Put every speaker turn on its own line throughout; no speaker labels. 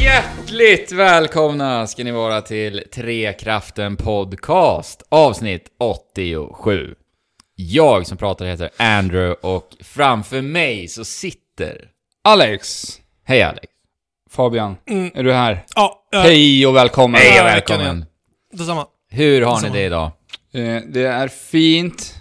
Hjärtligt välkomna ska ni vara till Trekraften Podcast, avsnitt 87. Jag som pratar heter Andrew och framför mig så sitter...
Alex,
Hej Alex!
Fabian, är du här?
Ja, eh,
Hej och välkommen!
Hej och
Mm. jag
välkommen!
kan detsamma.
Hur har ni det idag?
Eh, det är fint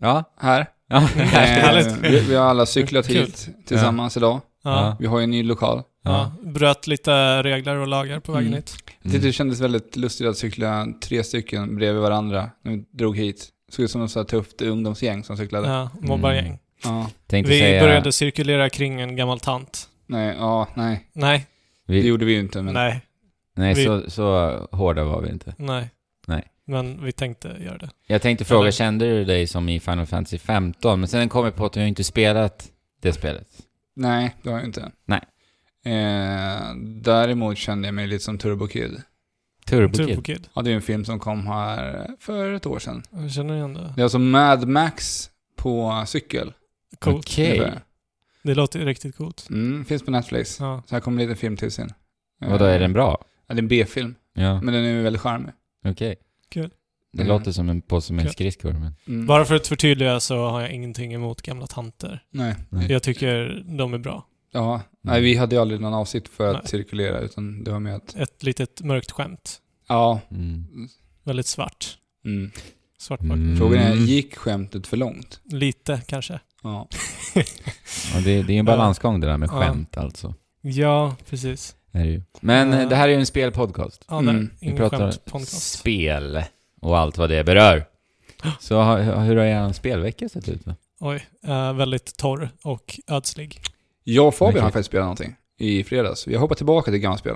Ja?
här.
Ja.
Eh,
Härligt.
vi, vi har alla cyklat
Kul.
hit tillsammans idag.
Ja,
Vi har ju en ny lokal.
ja. Bröt lite regler och lagar på vägen
Mm.
hit.
Jag tyckte det kändes väldigt lustigt att cykla tre stycken bredvid varandra när vi drog hit. Det såg ut som ett så här tufft ungdomsgäng som cyklade. Ja.
Ja, mobbargäng.
Mm. Tänkte
Vi
säga...
började cirkulera kring en gammal tant.
Nej, ja, nej.
Nej,
Det
Vi,
gjorde vi ju inte, men...
nej,
nej,
vi-
så, så hårda var vi inte.
nej.
Nej.
Men vi tänkte göra det.
Jag tänkte fråga,
Eller-
kände du dig som i Final Fantasy 15? Men sen kom jag på att du har inte spelat det spelet.
Nej, det har jag inte.
Nej.
Eh, däremot kände jag mig lite som Turbo Kid.
Turbo,
Turbo
Kid.
Kid.
Ja, det är en film som kom här för ett år sedan.
Jag känner igen det.
Det är alltså Mad Max på cykel.
Coolt.
Okej.
ungefär.
Det låter ju riktigt coolt.
Mm, finns på Netflix.
Ja.
Mm.
Så här kommer en liten film till sen. Eh,
Vadå, är den bra?
Ja, det är en B-film,
Ja,
men den är ju väldigt charmig.
okej.
Kul.
Det
Mm.
låter som en påse med
Kul.
skridskor, men...
Mm.
Bara för att förtydliga så har jag ingenting emot gamla tanter.
Nej.
Nej.
Jag tycker de är bra.
Ja, nej, vi hade ju aldrig någon avsikt för att
Nej.
cirkulera, utan det var med att...
Ett litet mörkt skämt.
Ja.
Mm.
Väldigt svart.
Mm.
Svartmörkt.
Mm.
Frågan är,
Mm.
gick skämtet för långt?
Lite kanske.
Ja.
Ja, det, det är en
Ja.
balansgång det där med
Ja.
skämt alltså.
Ja, precis.
Är det ju. Men
Ja.
eh, det här är ju en spelpodcast.
Ja, där.
Mm.
Vi
Ingen
pratar
skämt podcast.
spel och allt vad det berör. Så ha- ha- hur har er spelvecka sett ut då?
Oj, eh, väldigt torr och ödslig.
Jag och Fabian
Okej.
har faktiskt spelat någonting i fredags. Vi har hoppat tillbaka till gammalt spel.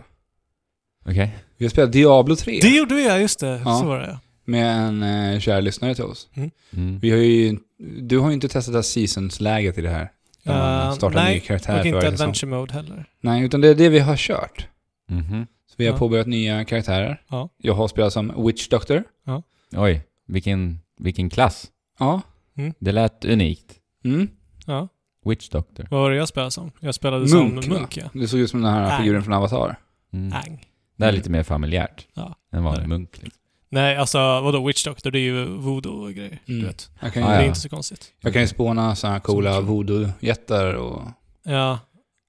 Okej?
Vi har spelat Diablo 3
Det gjorde jag, just det.
Ja.
Så var det
med en eh, kär lyssnare till oss.
Mm.
Vi har ju, du har ju inte testat det här seasons-läget i det här. Där man
ja. Eh,
startar en ny
nej,
karaktär
och
för
inte
varje säsong.
adventure mode heller.
Nej, utan det är det vi har kört.
Mhm.
Så vi har
Ja.
påbörjat nya karaktärer.
Ja.
Jag har spelat som Witch Doctor.
Oj, vilken, vilken klass.
Ja.
Det lät unikt.
Mm.
Ja.
Witch Doctor.
Vad var det jag spelade som? Jag spelade
Munk,
som
va?
munk, ja.
Det såg ut som den här
Nej.
figuren från Avatar.
Mm.
Äng.
Det är lite mer familjärt
Ja.
än vanlig
Nej.
munk. Liksom.
Nej, alltså vadå, Witch Doctor, det är ju voodoo och grejer.
Mm.
Du vet.
Jag kan ju,
Ah,
Det är
ja.
inte så konstigt.
jag kan ju spåna sådana här coola voodoo-jättar och
Ja,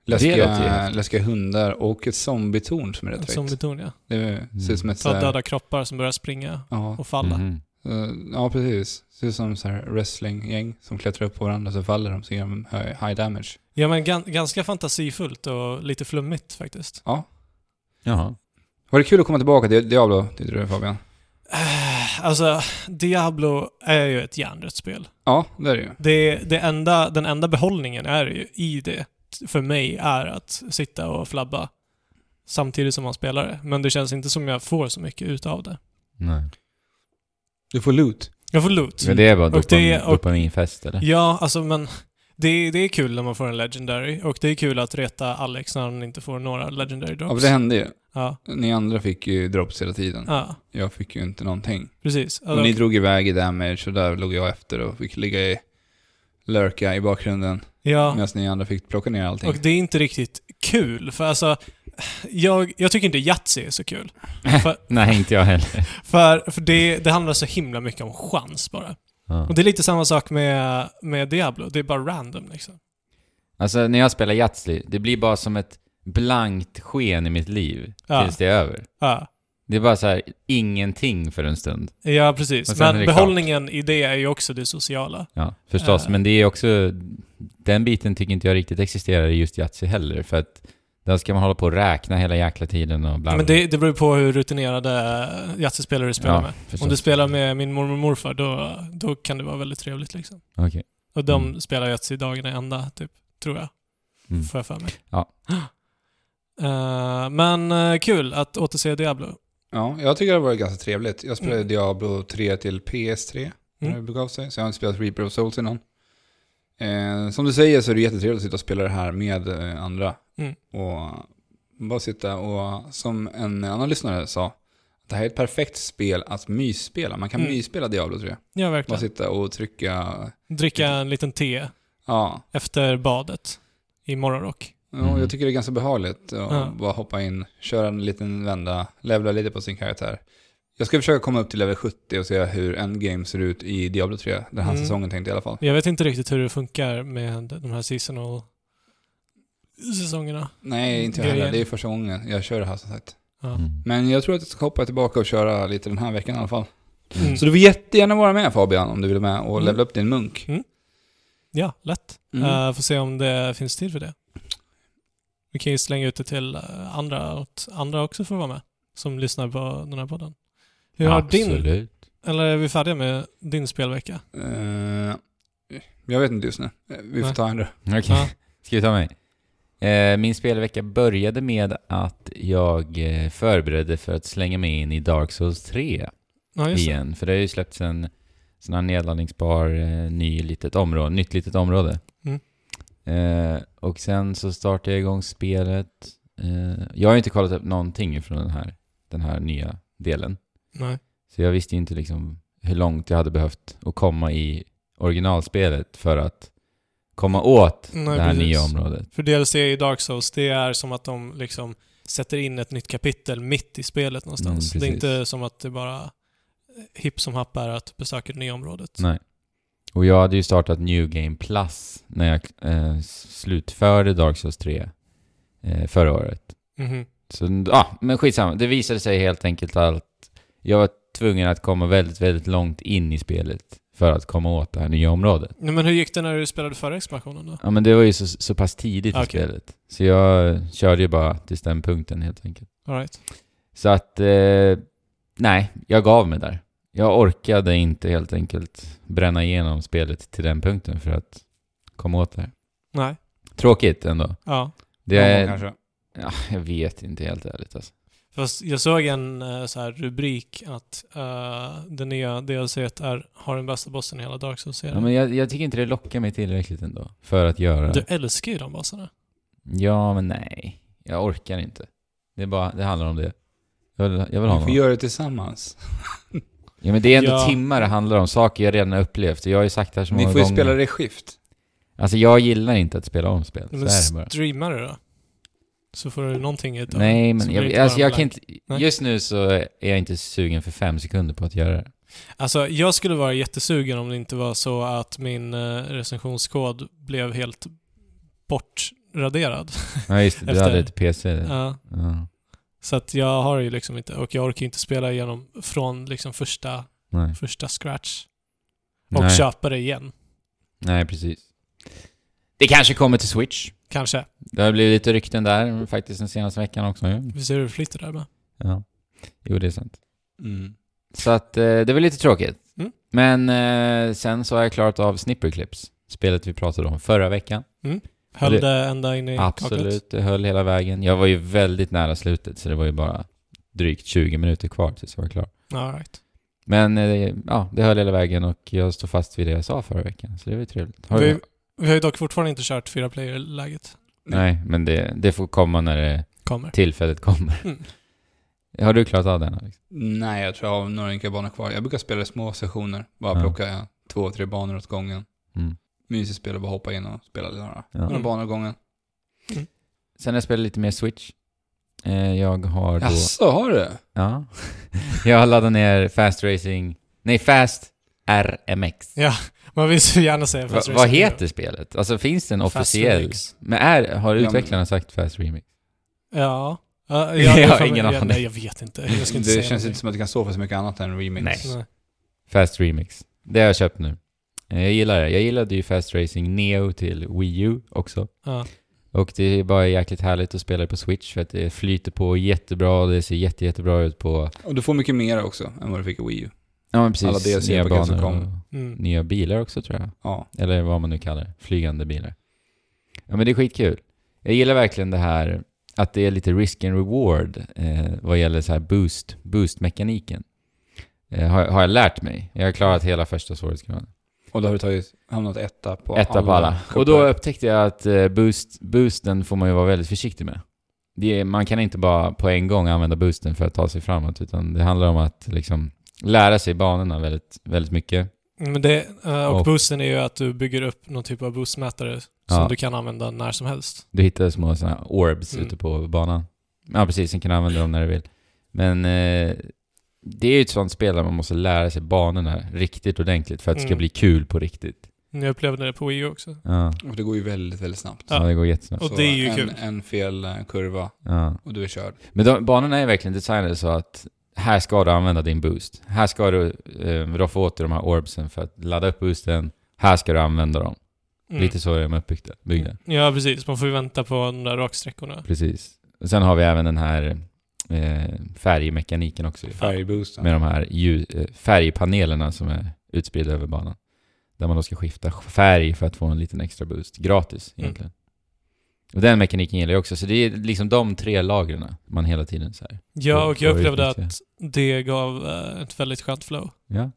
Det låter ju
läskiga,
häftigt.
läskiga hundar och ett zombietorn som är rätt
som
fett.
beton, ja.
Det ser ut som ett
Mm. Ta
såhär...
döda kroppar som börjar springa
Ja,
och falla.
Mhm.
eh, ja, precis. Ser ut som så här wrestlinggäng som klättrar upp på varandra så faller de så gör de high high damage.
Ja, men gan- ganska fantasifullt och lite flummigt faktiskt.
Jaha.
Var det kul att komma tillbaka till Diablo, tyckte du Fabian?
Eh, Alltså, Diablo är ju ett hjärndött spel.
Ja, det är det ju.
Det, det enda, den enda behållningen är ju i det, för mig, är att sitta och flabba samtidigt som man spelar det. Men det känns inte som jag får så mycket utav det.
Nej.
Du får loot.
Jag får loot.
Men det är bara
Och det-
dopamin-
och-
dopaminfest eller?
Ja, alltså men det, det är kul när man får en legendary och det är kul att reta Alex när han inte får några legendary
Ja, för
drops.
det hände ju.
Ja,
Ni andra fick ju drops hela tiden.
ja
Jag fick ju inte någonting.
precis. Alltså,
Och ni drog iväg i damage och där låg jag efter och fick ligga i lurka i bakgrunden
ja.
medan ni andra fick plocka ner allting.
Och det är inte riktigt kul, för alltså, jag, jag tycker inte Yatzy är så kul. För,
Nej, inte jag heller.
för, för det, det handlar så himla mycket om chans bara.
Ja.
Och det är lite samma sak med, med Diablo, det är bara random liksom.
Alltså när jag spelar Yatzy, det blir bara som ett blankt sken i mitt liv
Ja.
tills det är över.
Ja,
Det är bara så här ingenting för en stund.
ja
Men
precis.
sen är
Men
det klart.
behållningen i det är ju också det sociala.
Ja, förstås.
Ja.
Men det är också... Den biten tycker inte jag riktigt existerar i just Yatzy heller, för att där ska man hålla på och räkna hela jäkla tiden och bla bla.
Men det, det beror ju på hur rutinerade Yatzy-spelare du spelar
Ja,
med.
förstås.
Om du spelar med min mormor och morfar, då, då kan det vara väldigt trevligt liksom.
Okej.
Och de
Mm.
spelar Yatzy dagarna i ända, typ. Tror jag.
Mm.
Får jag för mig.
Ja.
Eh, men eh, kul att återse Diablo.
Ja, jag tycker det har varit ganska trevligt. Jag spelade
Mm.
Diablo 3 till PS3 när
Mm.
det begav sig, så jag har inte spelat Reaper of Souls innan. Eh, som du säger så är det jättetrevligt att sitta och spela det här med eh, andra.
Mm.
Och bara sitta och, som en annan lyssnare sa, att det här är ett perfekt spel att mysspela. Man kan
Mm.
mysspela Diablo 3.
Ja,
Bara
verkligen.
sitta och trycka,
Dricka en liten te
ja,
efter badet i morgonrock.
Ja,
Mm.
Jag tycker det är ganska behagligt att
Ja.
bara hoppa in, köra en liten vända, levla lite på sin karaktär. Jag ska försöka komma upp till level 70 och se hur endgame ser ut i Diablo 3, den här
Mm.
säsongen tänkte jag i alla fall.
Jag vet inte riktigt hur det funkar med de här seasonal säsongerna.
Nej, inte jag
Det är-
heller. Det är första gången jag kör det här som sagt.
Ja.
Mm.
Men jag tror att jag ska hoppa tillbaka och köra lite den här veckan i alla fall.
Mm.
Så du får jättegärna vara med Fabian om du vill med och
Mm.
levla upp din munk.
Ja, lätt.
Mm.
Eh, får se om det finns tid för det. Vi kan ju slänga ut det till eh, andra, åt andra också för att vara med, som lyssnar på den här podden. Hur har din,
Absolut.
eller är vi färdiga med din spelvecka?
Eh, jag vet inte just nu. Eh, Vi får
Nej.
ta en då.
Okej.
Ja.
Ska vi ta mig? Eh, Min spelvecka började med att jag eh, förberedde för att slänga mig in i Dark Souls 3
Ja, just det.
igen. För det har ju släppts en sån här nedladdningsbar eh, ny litet område, nytt litet område.
Mm.
Eh, och sen så startade jag igång spelet. Eh, jag har ju inte kollat upp någonting från den här, den här nya delen.
Nej.
Så jag visste ju inte liksom hur långt jag hade behövt att komma i originalspelet för att komma åt
Nej,
det här
precis.
nya området.
För DLC i Dark Souls, det är som att de liksom sätter in ett nytt kapitel mitt i spelet någonstans.
Mm,
det är
precis.
inte som att det bara eh, hipp som happ är att besöka det nya området.
Nej. Och jag hade ju startat New Game Plus när jag eh, slutförde Dark Souls 3 eh, förra året.
Mhm.
Så, ah, men skitsamma. Det visade sig helt enkelt att jag var tvungen att komma väldigt, väldigt långt in i spelet för att komma åt det här nya området.
Nej, Men hur gick det när du spelade förra expansionen då?
Ja, men det var ju så, så pass tidigt i
Okej.
spelet. Så jag körde ju bara tills den punkten helt enkelt.
All right.
Så att, eh, nej, jag gav mig där. Jag orkade inte helt enkelt bränna igenom spelet till den punkten för att komma åt det här.
Nej.
Tråkigt ändå.
Ja.
Det
Någon gång
är,
kanske.
ja, jag vet inte helt ärligt alltså.
Fast jag såg en eh, så här rubrik att eh, den nya DLC är, har den bästa bossen i hela Dark Souls-serien.
Ja, men jag, jag tycker inte det lockar mig tillräckligt ändå för att göra
Du älskar ju de bossarna.
Ja, men nej. Jag orkar inte. Det, är bara, det handlar om det. Jag vill, jag vill ha
Vi får
någon.
göra det tillsammans.
Ja, men det är ändå
Ja.
timmar det handlar om. Saker jag redan har upplevt. Jag har ju sagt det här så
Ni
många
får ju
gånger.
spela det i skift.
Alltså, jag gillar inte att spela om spel. Så
Men
är det bara.
streamar du då? Så får du någonting utav det.
Nej,
Så
men
blir det
jag,
inte
alltså,
bara
jag kan
blank.
inte...
Nej.
Just nu så är jag inte sugen för fem sekunder på att göra det.
Alltså, jag skulle vara jättesugen om det inte var så att min eh, recensionskod blev helt bortraderad.
Ja, just det. Du
Efter-
hade ett PC. Ja.
Ja. så att jag har ju liksom inte, och jag orkar ju inte spela igenom från liksom första,
Nej.
första scratch och
Nej.
köpa det igen.
nej, precis. Det kanske kommer till Switch.
Kanske.
Det har blivit lite rykten där faktiskt den senaste veckan också. ju.
Vi ser hur det flyter där med.
Ja. Jo, det är sant.
Mm.
Så att eh, det var lite tråkigt.
Mm.
Men eh, sen så har jag klarat av Snipperclips, spelet vi pratade om förra veckan.
Höll
Det-
det, ända in i kaklet.
Absolut, det höll hela vägen. Jag var ju väldigt nära slutet så det var ju bara drygt 20 minuter kvar tills jag var klar.
All right.
Men eh, ja, det höll hela vägen och jag står fast vid det jag sa förra veckan, så det var ju trevligt. Har
Vi,
du...
vi har ju dock fortfarande inte kört fyra player-läget.
Nej, men det, det får komma när det
Kommer.
tillfället kommer.
Mm.
Har du klarat av den? Alex?
Nej, jag tror jag har några enkla banor kvar. Jag brukar spela i små sessioner. Bara
Ja.
plocka eh, två, tre banor åt gången.
Mm.
Mysigt spel att bara hoppa in och spela några,
Ja.
några
Mm.
banor åt gången.
Sen har jag spelat lite mer Switch. Eh, jag har då...
Jaså, har du?
Ja. Jag laddar ner Fast Racing... Nej, Fast RMX.
Ja, man vill så gärna säga
Va,
Fast
vad
Racing
heter spelet? Alltså finns det en
Hero. Fast
officiell?
Remix.
Men är, har
Ja, men-
utvecklarna sagt Fast Remix?
Ja. Ja,
Jag
är
har
fan-
ingen
jag-
aning.
Nej, jag vet inte. Jag ska inte
Det
säga
känns inte
någonting.
som att det kan stå för så mycket annat än remix.
Nej.
Nej.
Fast Remix. Det har jag köpt nu. Eh, Jag gillar det. Jag gillade ju Fast Racing Neo till Wii U också.
Ja.
Och det är bara jäkligt härligt att spela det på Switch för att det flyter på jättebra och det ser jätte, jättebra ut på...
Och du får mycket mer också än vad du fick i Wii U.
Ja, men precis.
Alla DLC-paket som kom.
och
Mm.
nya bilar också tror jag.
Ja.
Eller vad man nu kallar det. Flygande bilar. Ja men det är skitkul. Jag gillar verkligen det här att det är lite risk and reward eh, vad gäller så här boost, boost-mekaniken. Eh, har, har jag lärt mig. Jag har klarat hela första svårighetsgraden.
Och då har du tagit, hamnat etta på
Etta på alla. Och då upptäckte jag att eh, boost, boosten får man ju vara väldigt försiktig med. Det är, man kan inte bara på en gång använda boosten för att ta sig framåt utan det handlar om att liksom lära sig banorna väldigt, väldigt mycket.
Men det, eh, och
Och-
boosten är ju att du bygger upp någon typ av boostmätare Som
Ja.
du kan använda när som helst.
Du hittar små såna här orbs
Mm.
ute på banan. Ja, precis. Sen kan du använda dem när du vill. Men eh, det är ju ett sånt spel där man måste lära sig banorna riktigt ordentligt för att det ska
Mm.
bli kul på riktigt.
Jag upplevde det på Wii U också.
Ja,
Och det går ju väldigt, väldigt snabbt.
ja. det går jättesnabbt.
Och
Så
det är ju
en,
kul.
en fel eh, kurva
Ja.
och du är körd.
Men de, banorna är verkligen designade så att här ska du använda din boost. Här ska du eh, roffa åt dig de här orbsen för att ladda upp boosten. Här ska du använda dem.
Mm.
Lite så är de uppbyggda. byggda.
Ja, precis. Man får ju vänta på de där raksträckorna.
Precis. Och sen har vi även den här eh, färgmekaniken också. ju.
Färgboosten.
med de här ljus, eh, färgpanelerna som är utspridda över banan. Där man då ska skifta färg för att få en liten extra boost. Gratis egentligen. Och den mekaniken gillar jag också. Så det är liksom de tre lagren man hela tiden så här.
Ja,
Får-
och jag
får
upplevde
utnyttja.
att det gav eh, ett väldigt skönt flow.
Ja.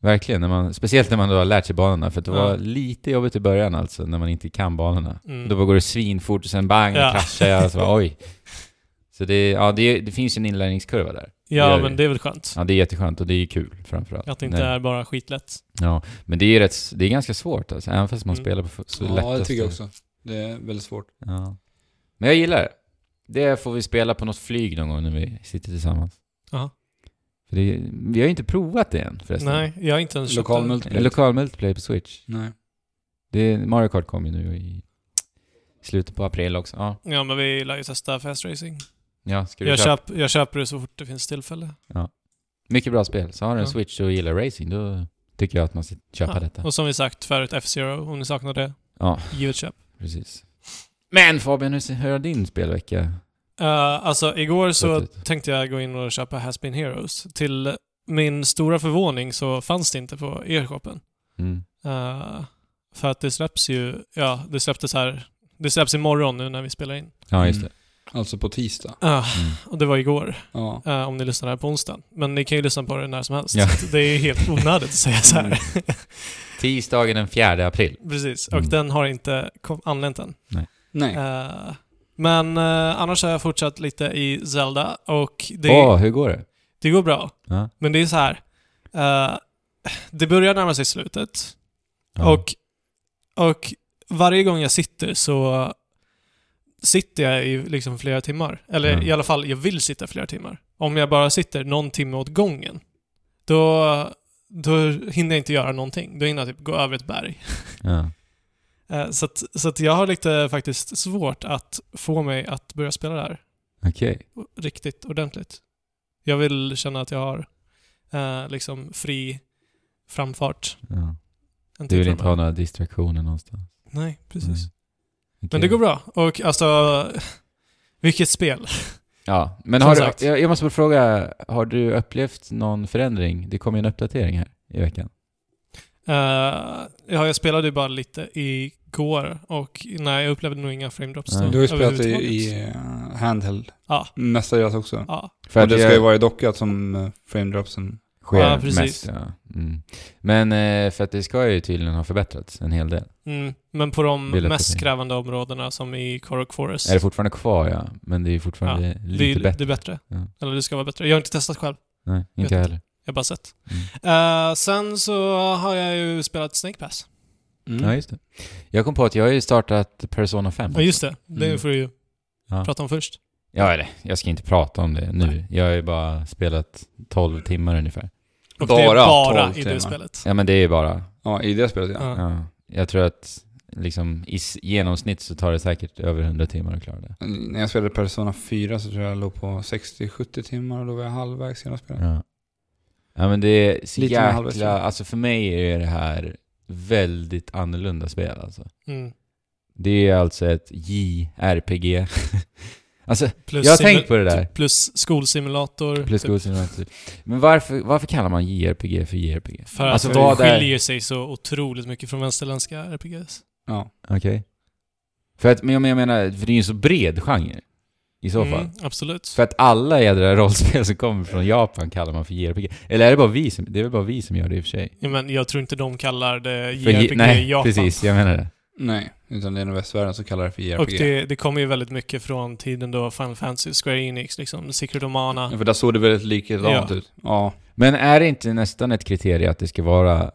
Verkligen. När man, speciellt när man då har lärt sig banorna. För att det
Ja.
var lite jobbigt i början alltså, när man inte kan banorna.
Mm.
Då bara går det svinfort och sen bang,
Ja.
ja. kraschar jag. Så bara, oj. Så det, ja, det, det finns ju en inlärningskurva där.
Ja,
gör
men
det.
det är väl skönt.
Ja, det är jätteskönt och det är ju kul framförallt.
Att det inte
Nej.
är bara skitlätt.
Ja, men det är ju rätt, det är ganska svårt alltså, även fast man
Mm.
spelar på f- så lättaste.
Ja, det tycker jag också. Det är väldigt svårt.
Ja. Men jag gillar det. Det får vi spela på något flyg någon gång när vi sitter tillsammans.
Ja.
För det, vi har ju inte provat det än förresten.
Nej, jag har inte ens köpt
Lokal
den.
multiplayer.
Lokal multiplayer på Switch.
Nej.
Det, Mario Kart kom ju nu i slutet på april också. Ja,
Ja, men vi lär ju testa Fast Racing.
ja ska du
Jag,
köpa?
köp, jag köper det så fort det finns tillfälle.
Mycket bra spel. Så har du en
Ja.
Switch och gillar racing, då tycker jag att man ska köpa
Ja.
detta.
Och som vi sagt förut, F-Zero, om ni saknar det,
Ja,
givet köp.
precis. Men Fabian, hur ser- hur har din spelvecka?
Eh, alltså, igår så
Suttit.
tänkte jag gå in och köpa Has Been Heroes. Till min stora förvåning så fanns det inte på e-shoppen.
Mm.
Eh, för att det släpps ju, ja, det släpptes här, det släpps imorgon nu när vi spelar in.
Ja, just det.
Alltså på tisdag.
Ah,
Mm.
och det var igår,
Ja.
eh, om ni lyssnar här på onsdagen. Men ni kan ju lyssna på det när som helst.
Ja. Mm.
Så Det är ju helt onödigt att säga så här.
Tisdagen den 4 april.
Precis, och
Mm.
den har inte kom- anlänt än.
Nej.
Eh, men eh, annars har jag fortsatt lite i Zelda och det,
Åh, hur går det?
det går bra.
Ja.
Men det är så här. eh, det börjar närma sig slutet
Ja.
och, och varje gång jag sitter så sitter jag i liksom flera timmar. Eller
Mm.
i alla fall, jag vill sitta flera timmar. Om jag bara sitter någon timme åt gången, då, då hinner jag inte göra någonting. Då hinner jag typ gå över ett berg.
Ja.
Eh, Så, att, så att jag har lite faktiskt svårt att få mig att börja spela det här
Okej.
riktigt ordentligt. Jag vill känna att jag har eh, liksom fri framfart.
Ja.
En
Du
tid
vill inte ha
framöver.
några distraktioner någonstans?
Nej, precis.
Mm. Okej.
Men det går bra. Och alltså, vilket spel.
Ja, men
Som
har
sagt.
du, jag, jag måste bara fråga, har du upplevt någon förändring? Det kom ju en uppdatering här i veckan.
Eh, ja, jag spelade ju bara lite igår och nej, jag upplevde nog inga frame drops
Nej.
då
Du har ju spelat i,
Mm. överhuvudtaget.
i eh, handheld.
Ja.
Mestadels också.
Ja,
För
och det
det
ska ju vara i dockat som eh, frame dropsen.
sker
Ja, precis.
mest. Ja. Mm. Men eh, för att det ska ju tydligen ha förbättrats en hel del.
mm, men på de
Vill att det
mest
blir.
krävande områdena som i Korok Forest.
Är det fortfarande kvar ja, men det är ju fortfarande lite
det, är-
bättre.
det är bättre.
Ja.
Eller det ska vara bättre. Jag har inte testat själv.
Nej,
vet
inte
inte.
jag heller.
Jag har bara sett.
Mm.
Eh, sen så har jag ju spelat Snake Pass.
Mm.
Ja, just det. Jag kom på att jag har ju startat Persona 5.
Ja, just det. Det
Mm.
får du ju
Ja.
prata om först.
Ja, eller jag ska inte prata om det nu. Jag har ju bara spelat 12 timmar ungefär.
Och det är
Bara
bara
12
i det
timmar.
spelet.
Ja, men det är ju bara
Ja, i det spelet ja.
Ja.
Ja, jag tror att liksom, i s- genomsnitt så tar det säkert över 100 timmar att klara det.
När jag spelade Persona 4 så tror jag jag låg på 60-70 timmar och då var jag halvvägs genom spelet.
Ja, ja men det är så
Lite mer halvvägs
jäkla...
fram.
Alltså för mig är det här väldigt annorlunda spel alltså.
Mm.
Det är alltså ett JRPG. alltså,
Plus
jag har
simu-
tänkt på det där.
Typ Plus skolsimulator.
Plus
typ,
godkännande. Men varför, varför kallar man JRPG för JRPG?
För att
alltså,
det
vad är-
skiljer sig så otroligt mycket från västerländska RPGs.
Ja.
Okej. För att, men jag- men jag menar, för det är ju en så bred genre. I så fall.
Mm, absolut.
För att alla jädra rollspel som kommer från Japan kallar man för JRPG. Eller är det bara vi som, det är väl bara vi som gör det i och för sig?
Ja, men jag tror inte de kallar det
För
JRPG
J-
i
nej,
Japan.
precis. Jag menar det.
Nej, utan det är nog västvärlden som kallar det för JRPG.
Och det, det kommer ju väldigt mycket från tiden då Final Fantasy, Square Enix, liksom, Secret of Mana.
Mm.
Ja, för där såg det väldigt likadant
Ja.
ut. Ja.
Men är det inte nästan ett kriterium att det ska vara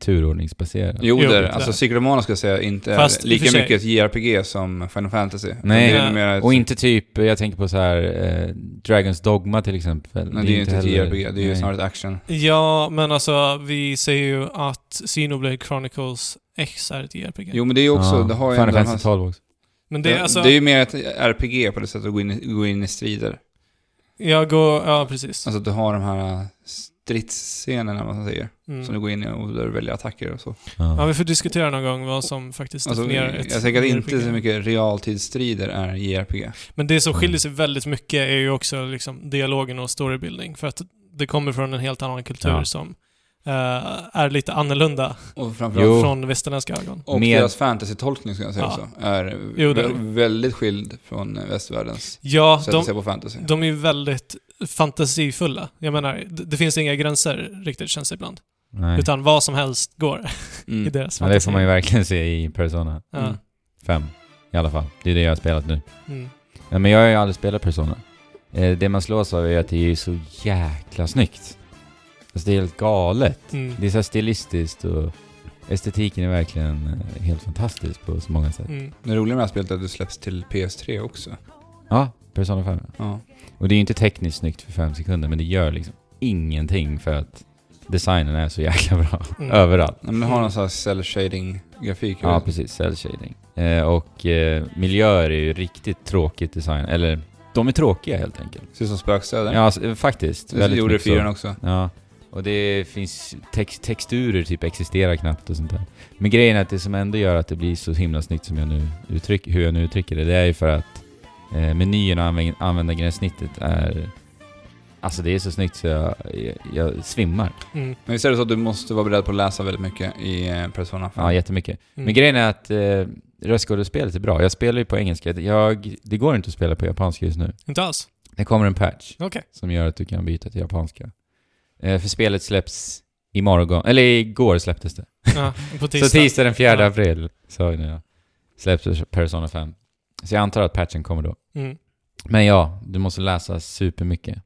turordningsbaserad.
Jo,
Jo,
det är
det
det.
är
Alltså
det.
Secret of Mana ska jag säga inte
Fast i
är
och
lika
för sig-
mycket ett JRPG som Final Fantasy.
Nej.
Det är mer ett,
Och inte typ, jag tänker på så här eh, Dragons Dogma till exempel.
nej, det är ju inte ett
heller-
JRPG, det är ju
nej.
snarare ett action.
Ja, men alltså vi ser ju att Xenoblade Chronicles X är ett JRPG.
Jo, men det är ju också... Det har ju
Final
ändå
Fantasy
hans-
12 också.
men det
det,
är alltså...
det är ju mer ett RPG på det sättet att gå in, i- gå in i strider.
Jag går... Ja, precis.
Alltså att du har de här stridsscenerna, vad man säger. Som du
Mm.
går in i och där du väljer attacker och så.
Ja, vi får diskutera någon gång vad som faktiskt
Alltså,
definierar ett
jag tänker att inte
JRPG.
så mycket realtidsstrider är JRPG.
Men det som
Mm.
skiljer sig väldigt mycket är ju också liksom dialogen och storybuilding. För att det kommer från en helt annan kultur
Ja.
som eh, är lite annorlunda
Och
Jo.
framförallt...
från västerländska ögon.
Och
Med-
deras fantasy-tolkning ska jag säga
Ja.
också, är
Jo, det är
vä- väldigt skild från äh, västvärldens
Ja,
sätt
de,
att se på fantasy.
de är ju väldigt fantasifulla. Jag menar, det, det finns inga gränser riktigt känns det ibland.
Nej.
Utan vad som helst går
Mm.
i deras
Ja,
fantasi.
det får man ju verkligen se i Persona
Ja.
Mm.
5. I alla fall. Det är det jag har spelat nu.
Mm.
Ja, men jag har ju aldrig spelat Persona. Eh, det man slås av är att det är ju så jäkla snyggt. Alltså det är helt galet.
Mm.
Det är så här stilistiskt och estetiken är verkligen eh, helt fantastisk på så många sätt.
Mm.
Det roliga med det här spelet är att det släpps till PS3 också.
Ja, Persona 5.
Ja.
Och det är ju inte tekniskt snyggt för fem sekunder, men det gör liksom ingenting för att designen är så jäkla bra.
Mm.
Överallt.
Men det har någon sån här cell shading grafik
Ja, precis. Cell shading. Eh, och eh, miljöer är ju riktigt tråkigt design. Eller, de är tråkiga helt enkelt.
Ser ut som spökstäder.
Ja, alltså, eh, faktiskt.
det gjorde
mycket så.
fyran också.
Ja. Och det finns tex- texturer typ existerar knappt och sånt där. Men grejen är att det som ändå gör att det blir så himla snyggt som jag nu uttryck, hur jag nu uttrycker det, det är ju för att eh, menyerna och använd- användargränssnittet är... Alltså det är så snyggt så jag, jag, jag svimmar.
Mm.
Men visst är det så att du måste vara beredd på att läsa väldigt mycket i eh, Persona 5?
Ja, jättemycket.
Mm.
Men grejen är att eh, röstskådespelet är bra. Jag spelar ju på engelska. Jag, det går inte att spela på japanska just nu.
Inte alls?
Det kommer en patch
Okej.
som gör att du kan byta till japanska. Eh, för spelet släpps imorgon, eller igår släpptes det.
Ja, på tisdag.
Så tisdag den 4
Ja.
april, sa jag nu ja. Släpps Persona 5. Så jag antar att patchen kommer då.
Mm.
Men ja, du måste läsa supermycket.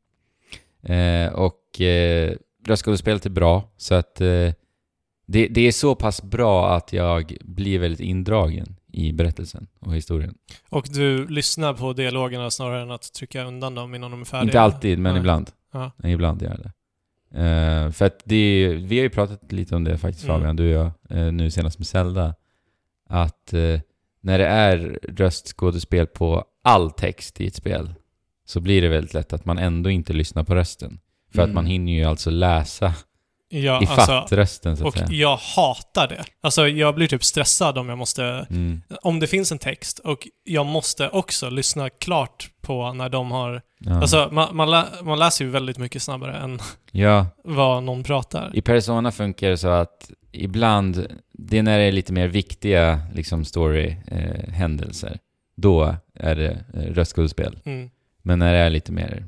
Eh, och eh, röstskådespelet är bra, så att eh, det, det är så pass bra att jag blir väldigt indragen i berättelsen och historien.
Och du lyssnar på dialogerna snarare än att trycka undan dem innan de är färdiga?
Inte alltid, men
Nej.
ibland.
Ja.
Nej, Ibland gör jag det. Eh, för att det är, ju- vi har ju pratat lite om det faktiskt
Mm.
Fabian, du och jag, eh, nu senast med Zelda. Att eh, när det är röstskådespel på all text i ett spel så blir det väldigt lätt att man ändå inte lyssnar på rösten. För att
Mm.
man hinner ju alltså läsa
Ja,
ifatt
alltså,
rösten så att
och
säga.
jag hatar det. Alltså jag blir typ stressad om jag måste...
Mm.
Om det finns en text och jag måste också lyssna klart på när de har...
Ja.
Alltså man, man, lä, man läser ju väldigt mycket snabbare än
ja,
vad någon pratar.
i Persona funkar det så att ibland, det är när det är lite mer viktiga liksom story-händelser, eh, händelser. då är det eh, röstskådespel.
Mm.
Men när det är lite mer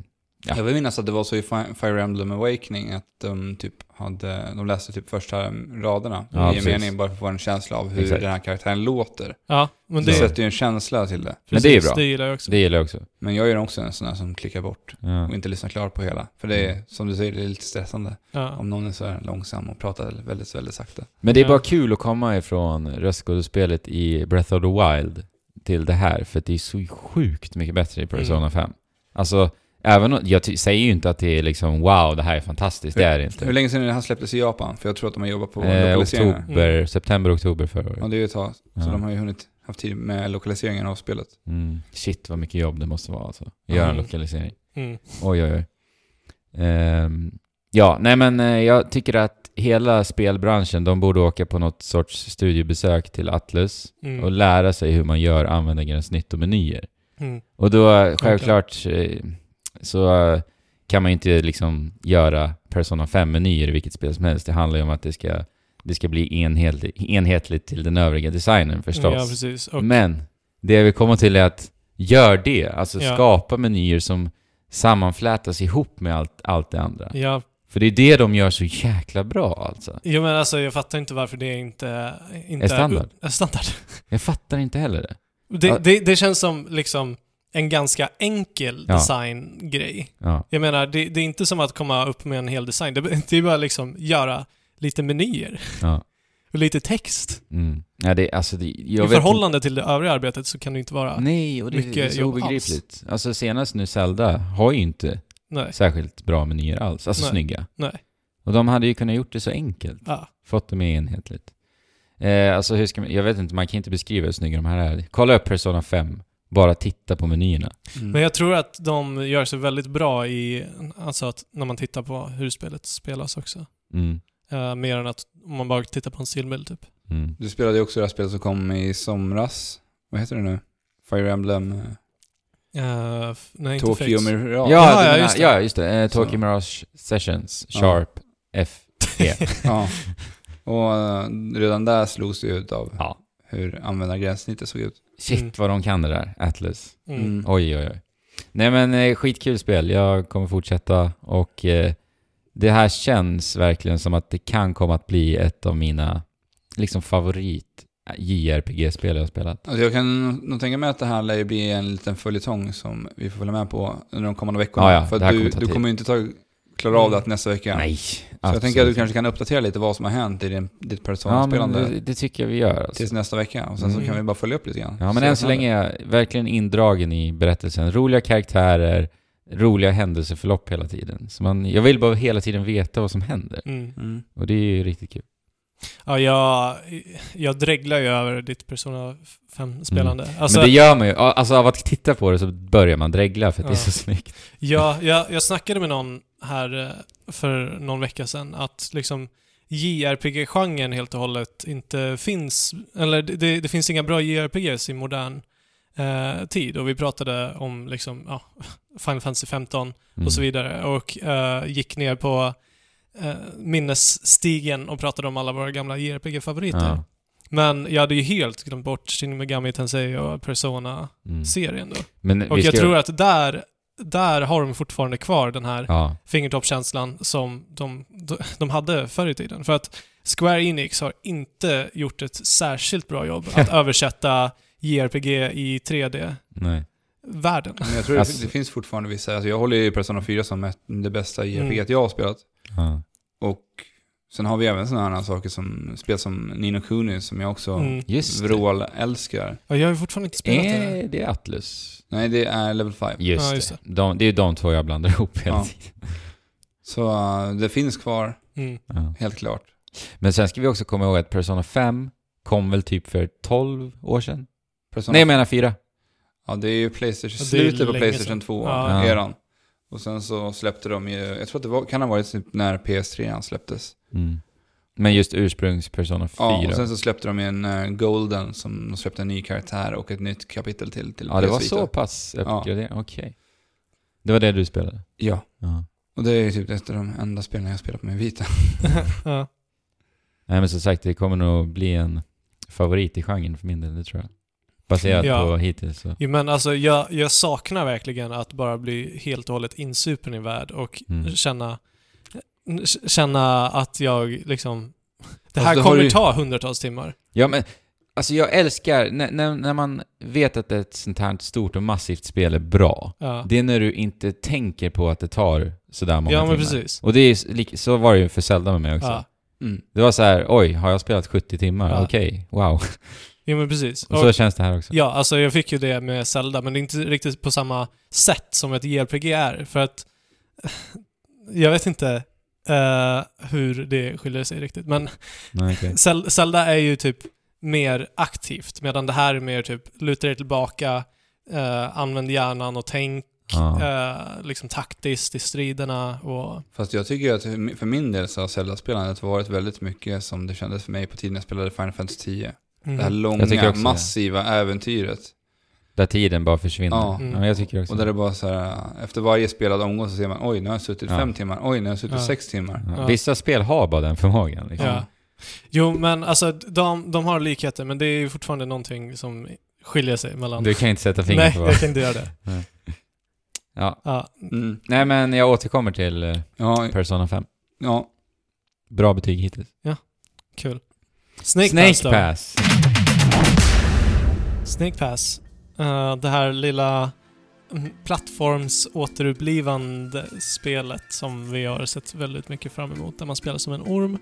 Ja.
Jag vill minnas att det var så i Fi- Fire Emblem Awakening att de typ hade, de läste typ första raderna
Ja,
i en
precis.
mening bara för att få en känsla av hur
Exakt.
den här karaktären låter.
Ja, men
Det
det,
sätter ju en känsla till det.
Men det är ju
precis,
bra.
Det gillar jag också.
Det gillar jag också.
Men jag är också en sån här som klickar bort
Ja.
och inte lyssnar klart på hela. För det
Mm.
är, som du säger, det är lite stressande.
ja.
Om någon är så här långsam och pratar väldigt, väldigt sakta.
Men det är
Ja.
bara kul att komma ifrån röstskådespelet i Breath of the Wild till det här, för att det är så sjukt mycket bättre i Persona
Mm.
5. Alltså, även om, jag ty- säger ju inte att det är liksom wow, det här är fantastiskt, det är det
Hur
inte.
länge sedan är det här släpptes i Japan? För jag tror att de har jobbat på
Eh,
lokaliseringar.
oktober,
Mm.
september, oktober förra
Ja,
året.
det är ju ett tag. Så
Ja.
de har ju hunnit haft tid med lokaliseringen av spelet.
Mm. Shit vad mycket jobb det måste vara alltså. Göra en
Mm.
lokalisering.
Mm.
Oj, oj, oj. Ehm, ja, nej men eh, jag tycker att hela spelbranschen, de borde åka på något sorts studiebesök till Atlus
Mm.
och lära sig hur man gör användargränssnitt och menyer.
Mm.
Och då eh, självklart eh, så eh, kan man ju inte liksom göra Persona 5-menyer i vilket spel som helst. Det handlar ju om att det ska, det ska bli enhetligt, enhetligt till den övriga designen förstås.
Ja, precis. Och,
Men det jag vill komma till är att gör det, alltså
Ja.
skapa menyer som sammanflätas ihop med allt, allt det andra.
ja,
För det är det de gör så jäkla bra alltså.
jo, men alltså jag fattar inte varför det inte... inte
Är standard.
Är standard.
Jag fattar inte heller det.
Det,
Ja.
det, det känns som liksom en ganska enkel
Ja.
designgrej.
Ja,
Jag menar, det, det är inte som att komma upp med en hel design. Det, det är bara liksom göra lite menyer
Ja.
och lite text.
Mm. Ja, det, alltså, det, jag
I
vet
förhållande till det övriga arbetet så kan det inte vara...
inte, Nej, och det,
mycket
det är så
jobb
obegripligt. Alltså senast nu Zelda har ju inte
Nej.
särskilt bra menyer alls. Alltså
Nej.
snygga.
Nej.
Och de hade ju kunnat gjort det så enkelt.
Ja.
Fått det mer enhetligt. Eh, alltså hur ska man, jag vet inte, man kan inte beskriva hur snygga de här är. Kolla upp Persona 5. Bara titta på menyerna.
Men jag tror att de gör sig väldigt bra i, alltså att när man tittar på hur spelet spelas också.
Mm.
Eh, mer än att om man bara tittar på en stillbild typ.
Mm.
Du spelade ju också det här spelet som kom i somras. Vad heter det nu? Fire Emblem eh,
Eh, f- nej, inte
Tokyo
Fates.
Ja,
Mirage.
ja,
den här-
just det.
ja, just det. Eh,
Så.
Tokyo Mirage Sessions,
Ja.
Sharp, FT.
Ja. Och eh, redan där slogs det ut av
Ja.
hur användargränssnittet såg ut.
Shit
Mm.
vad de kan det där, Atlas.
Mm.
Oj, oj, oj. Nej men eh, skitkul spel. Jag kommer fortsätta och eh, det här känns verkligen som att det kan komma att bli ett av mina liksom favorit JRPG-spel jag har spelat.
Alltså jag kan nog tänka mig att det här lär ju bli en liten följetong som vi får följa med på under de kommande veckorna.
Ja, ja,
För
det här
att du,
kommer ta
du
tid.
kommer ju inte ta, klara av det att nästa vecka.
Nej,
Så jag tänker att du kanske kan uppdatera lite vad som har hänt i din, ditt
ja, men
Persona-spelande
det, det tycker jag vi gör alltså.
tills nästa vecka. Och sen
Mm.
så kan vi bara följa upp lite grann.
Ja,
Se
men än
vad
så
som
länge är jag verkligen indragen i berättelsen. Roliga karaktärer, roliga händelseförlopp hela tiden. Så man, jag vill bara hela tiden veta vad som händer.
Mm.
händer. Mm.
Och det är ju riktigt kul.
Ja, jag, jag dreglar ju över ditt Persona 5-spelande. Alltså,
Mm. men det gör man ju. Alltså av att titta på det så börjar man dregla för att det är
Ja.
så snyggt.
jag, jag, jag snackade med någon här eh, för någon vecka sedan att liksom JRPG-genren helt och hållet inte finns, eller det- det, det finns inga bra JRPGs i modern eh, tid och vi pratade om liksom, ja, Final Fantasy 15
Mm.
och så vidare och eh, gick ner på eh, minnesstigen och pratade om alla våra gamla JRPG-favoriter.
Ja.
Men jag hade ju helt glömt bort Shin Megami Tensei och Persona-serien
Mm.
då.
Men
Och
vi
jag
ska-
tror att där, där har de fortfarande kvar den här
Ja,
fingertoppskänslan som de, de- de hade förr i tiden. För att Square Enix har inte gjort ett särskilt bra jobb att översätta JRPG i 3D-världen.
nej.
Men jag tror
Alltså-
det, det finns fortfarande vissa, alltså jag håller ju Persona 4 som ett, det bästa JRPG
Mm.
jag har spelat.
Ja.
Och sen har vi även sådana här saker som spel som Nino Kuni som jag också
Mm.
Just det.
vrålälskar.
Ja, jag har ju fortfarande inte spelat det. här.
Är det Atlus?
Nej, det är Level 5.
Just,
Ja, just
det. De, det är de två jag blandar ihop hela
Ja.
tiden.
Så äh, det finns kvar,
Mm.
Ja.
helt klart.
Men sen ska vi också komma ihåg att Persona 5 kom väl typ för 12 år sedan?
Persona,
Nej, jag menar 4.
Ja, det är ju Playstation,
Ja, det är ju
slutet på
länge
Playstation
sedan.
2-eran.
Ja.
Och sen så släppte de ju, jag tror att det var, kan ha varit typ när PS3 släpptes.
Mm. Men just ursprungs Persona 4.
Ja, och sen så släppte de ju en eh, Golden som de släppte en ny karaktär och ett nytt kapitel till. till
ja det var
PS Vita.
så pass
Ja.
uppgraderat. Okej. Det var det du spelade?
Ja,
Ja.
och det är ju typ ett av de enda spelen jag spelat på min Vita.
ja.
Nej, men som sagt, det kommer nog bli en favorit i genren för min del, det tror jag. Baserat
Ja.
på hittills så.
Jo, men alltså jag, jag saknar verkligen att bara bli helt och hållet insupen i värld och
Mm.
känna, känna att jag liksom... Det här
Alltså, det har
kommer
ju-
ta hundratals timmar.
Ja, men alltså jag älskar när, när, när man vet att ett sånt här stort och massivt spel är bra.
Ja,
Det är när du inte tänker på att det tar sådär många
ja men
timmar.
precis.
Och det är, ju s- lik- så var det ju för Zelda med mig också.
Ja.
Mm.
Det var så här, oj, har jag spelat 70 timmar?
Ja.
Okej, wow.
Jo, men precis.
Och
Och-
så känns det här också.
Ja, alltså jag fick ju det med Zelda, men det är inte riktigt på samma sätt som ett JRPG är, för att jag vet inte eh, hur det skiljer sig riktigt, men
Nej, okej.
Zel- Zelda är ju typ mer aktivt, medan det här är mer typ luta dig tillbaka, eh, använd hjärnan och tänk,
Ja.
eh, liksom taktiskt i striderna och...
Fast jag tycker att för min del så har Zelda-spelandet varit väldigt mycket som det kändes för mig på tiden jag spelade Final Fantasy 10. Det här
Mm.
Jag tycker
långa,
också det.
massiva äventyret.
Där tiden bara försvinner. Ja,
Ja.
Mm.
men jag tycker också
Och där det bara så här, efter varje spelad omgång så ser man oj, nu har jag suttit
Ja.
fem timmar, oj, nu har jag suttit
Ja.
sex timmar.
ja.
Ja.
Vissa spel har bara den förmågan. Liksom.
Ja. Jo, men alltså de, de har likheter, men det är ju fortfarande någonting som skiljer sig mellan...
Du kan inte sätta fingret
Nej,
på vad.
jag kan inte göra det.
Ja.
Ja,
Mm.
Nej, men jag återkommer till eh,
Ja,
Persona 5.
ja,
Bra betyg hittills.
Kul. Snake, Pass, då.
Pass.
Snake Pass. Eh, det här lilla mm, plattformsåterupplivande spelet som vi har sett väldigt mycket fram emot, där man spelar som en orm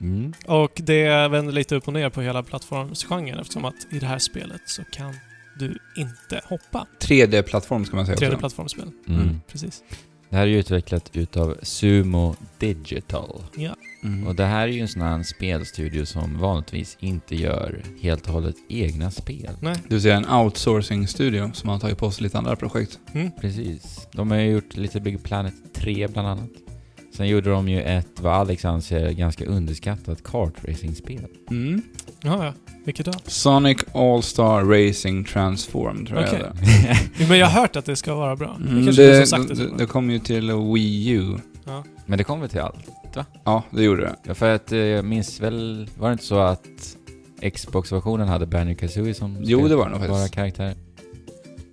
Mm.
Och det vänder lite upp och ner på hela plattformsgenren eftersom att i det här spelet så kan du inte hoppa.
3D-plattform ska man säga
3D
också.
plattformsspel,
Mm.
precis.
Det här är ju utvecklat utav Sumo Digital.
Mm.
Och det här är ju en sån här spelstudio som vanligtvis inte gör helt och hållet egna spel.
Nej.
Du ser en outsourcing-studio som har tagit på sig lite andra projekt.
Mm.
Precis. De har ju gjort lite Big Planet 3 bland annat. Sen gjorde de ju ett, vad Alex anser, ganska underskattat kartracingspel.
Mm.
Jaha, ja. Vilket då?
Sonic All-Star Racing Transform tror
Okej.
jag det
Jo, Men jag har hört att det ska vara bra.
Mm,
det kanske är
det,
det som sagt det ska
det,
vara
det
bra.
kom ju till Wii U.
Men det kom väl till allt?
Ja, det gjorde det.
Ja, för att eh, jag minns väl, var det inte så att Xbox-versionen hade Banjo Kazooie som
Jo, det var det nog
bara
faktiskt.
karaktär?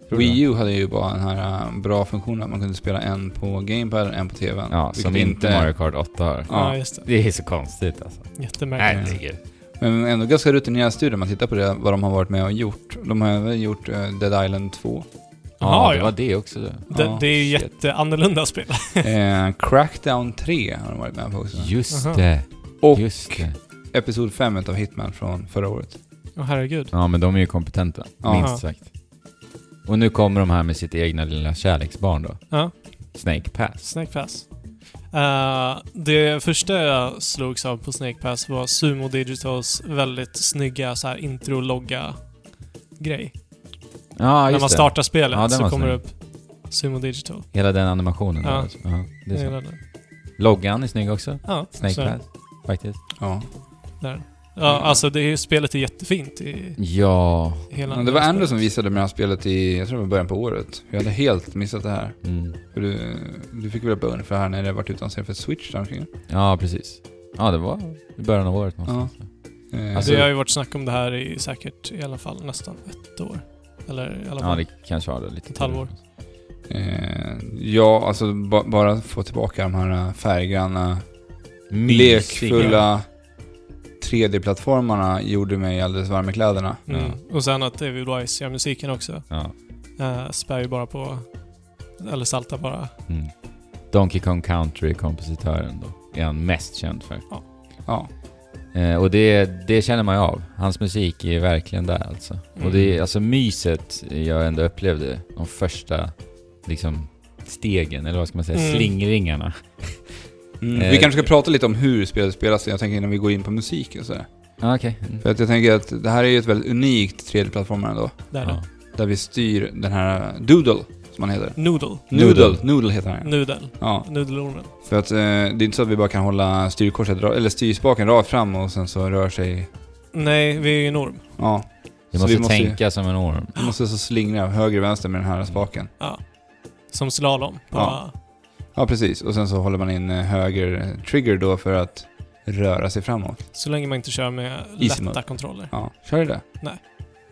Tror du
Wii
det?
U hade ju bara den här äh, bra funktionen att man kunde spela en på Gamepad och en på TVn.
Ja,
vilket
som inte Mario Kart 8 har.
Ja.
Ja, just det.
Det är så konstigt alltså.
Jättemärkligt.
Herregud.
Men ändå ganska rutinerad studio om man tittar på det, vad de har varit med och gjort. De har även gjort eh, Dead Island 2.
Ja,
Jaha,
det
ja.
var det också.
Det,
Ja,
det är ju
shit.
jätteannorlunda spel.
eh, Crackdown 3 har de varit med på också.
Just
Aha.
det.
Och
Just det.
Episod 5 av Hitman från förra året.
Åh herregud.
Ja, men de är ju kompetenta.
Ja.
Minst sagt. Och nu kommer de här med sitt egna lilla kärleksbarn då.
Ja.
Snake Pass.
Snake Pass. Eh, det första jag slogs av på Snake Pass var Sumo Digitals väldigt snygga så här intro-logga-grej.
Ja,
När
just
man
det.
startar spelet
Ja, den
så
var
kommer det
snygg.
upp Sumo Digital.
Hela den animationen.
Ja.
Ja. Alltså. ja det
Jag
är så.
gillar den.
Loggan är snygg också.
Ja,
Snake
så-
Pass. Faktiskt.
Ja.
Där. Ja, alltså det är, ju- spelet är jättefint i
Mm. Ja.
hela...
Men det var
hela
Andrew
spelet.
som visade mig det här spelet i, jag tror det var början på året. Jag hade helt missat det här.
Mm.
För du, du fick väl upp ögonen för det här när det varit utannonserat för Switch där omkring.
Ja, precis. Ja, det var i början av året någonstans.
Eh,
Alltså-
det har ju varit snack om det här i säkert i alla fall nästan ett år. Eller i alla
Ja,
fall.
det kanske var det lite
Ett halvår.
tidigare.
eh, ja, alltså ba, bara få tillbaka de här äh, färggranna,
Mysiga.
lekfulla 3D-plattformarna gjorde mig alldeles varm i kläderna.
mm. Och sen att David Wise gör musiken också.
Ja.
Uh, spär ju bara på... Eller saltar bara.
Mm. Donkey Kong Country-kompositören då. Är han mest känd för.
Ja.
Eh, och det, det känner man ju av. Hans musik är verkligen där alltså.
Mm.
Och det är alltså myset jag ändå upplevde, de första liksom stegen, eller vad ska man säga,
Mm.
slingringarna.
Mm.
Eh,
vi kanske ska prata lite om hur spelet spelas, jag tänker innan vi går in på musik och sådär.
Ah, Okej. Mm.
För att jag tänker att det här är ju ett väldigt unikt 3D-plattformar ändå.
Mm, Där
Ja.
då.
Där vi styr den här äh, Doodle, som han heter.
Noodle.
Noodle, Noodle heter
Mm.
han ja.
Nudel.
ja.
Nudelormen.
För att eh, det är inte så att vi bara kan hålla styrkorset, ra- eller styrspaken rakt fram och sen så rör sig...
Nej, vi är ju en orm.
Ja,
Vi
Så
måste
vi måste ju-
tänka som en orm.
vi måste så slingra höger och vänster med den här spaken.
Som slalom. På,
Ja. Ja, precis. Och sen så håller man in eh, höger eh, trigger då för att röra sig framåt.
Så länge man inte kör med
Easy
lätta
mode.
kontroller.
Ja, kör du det?
Nej.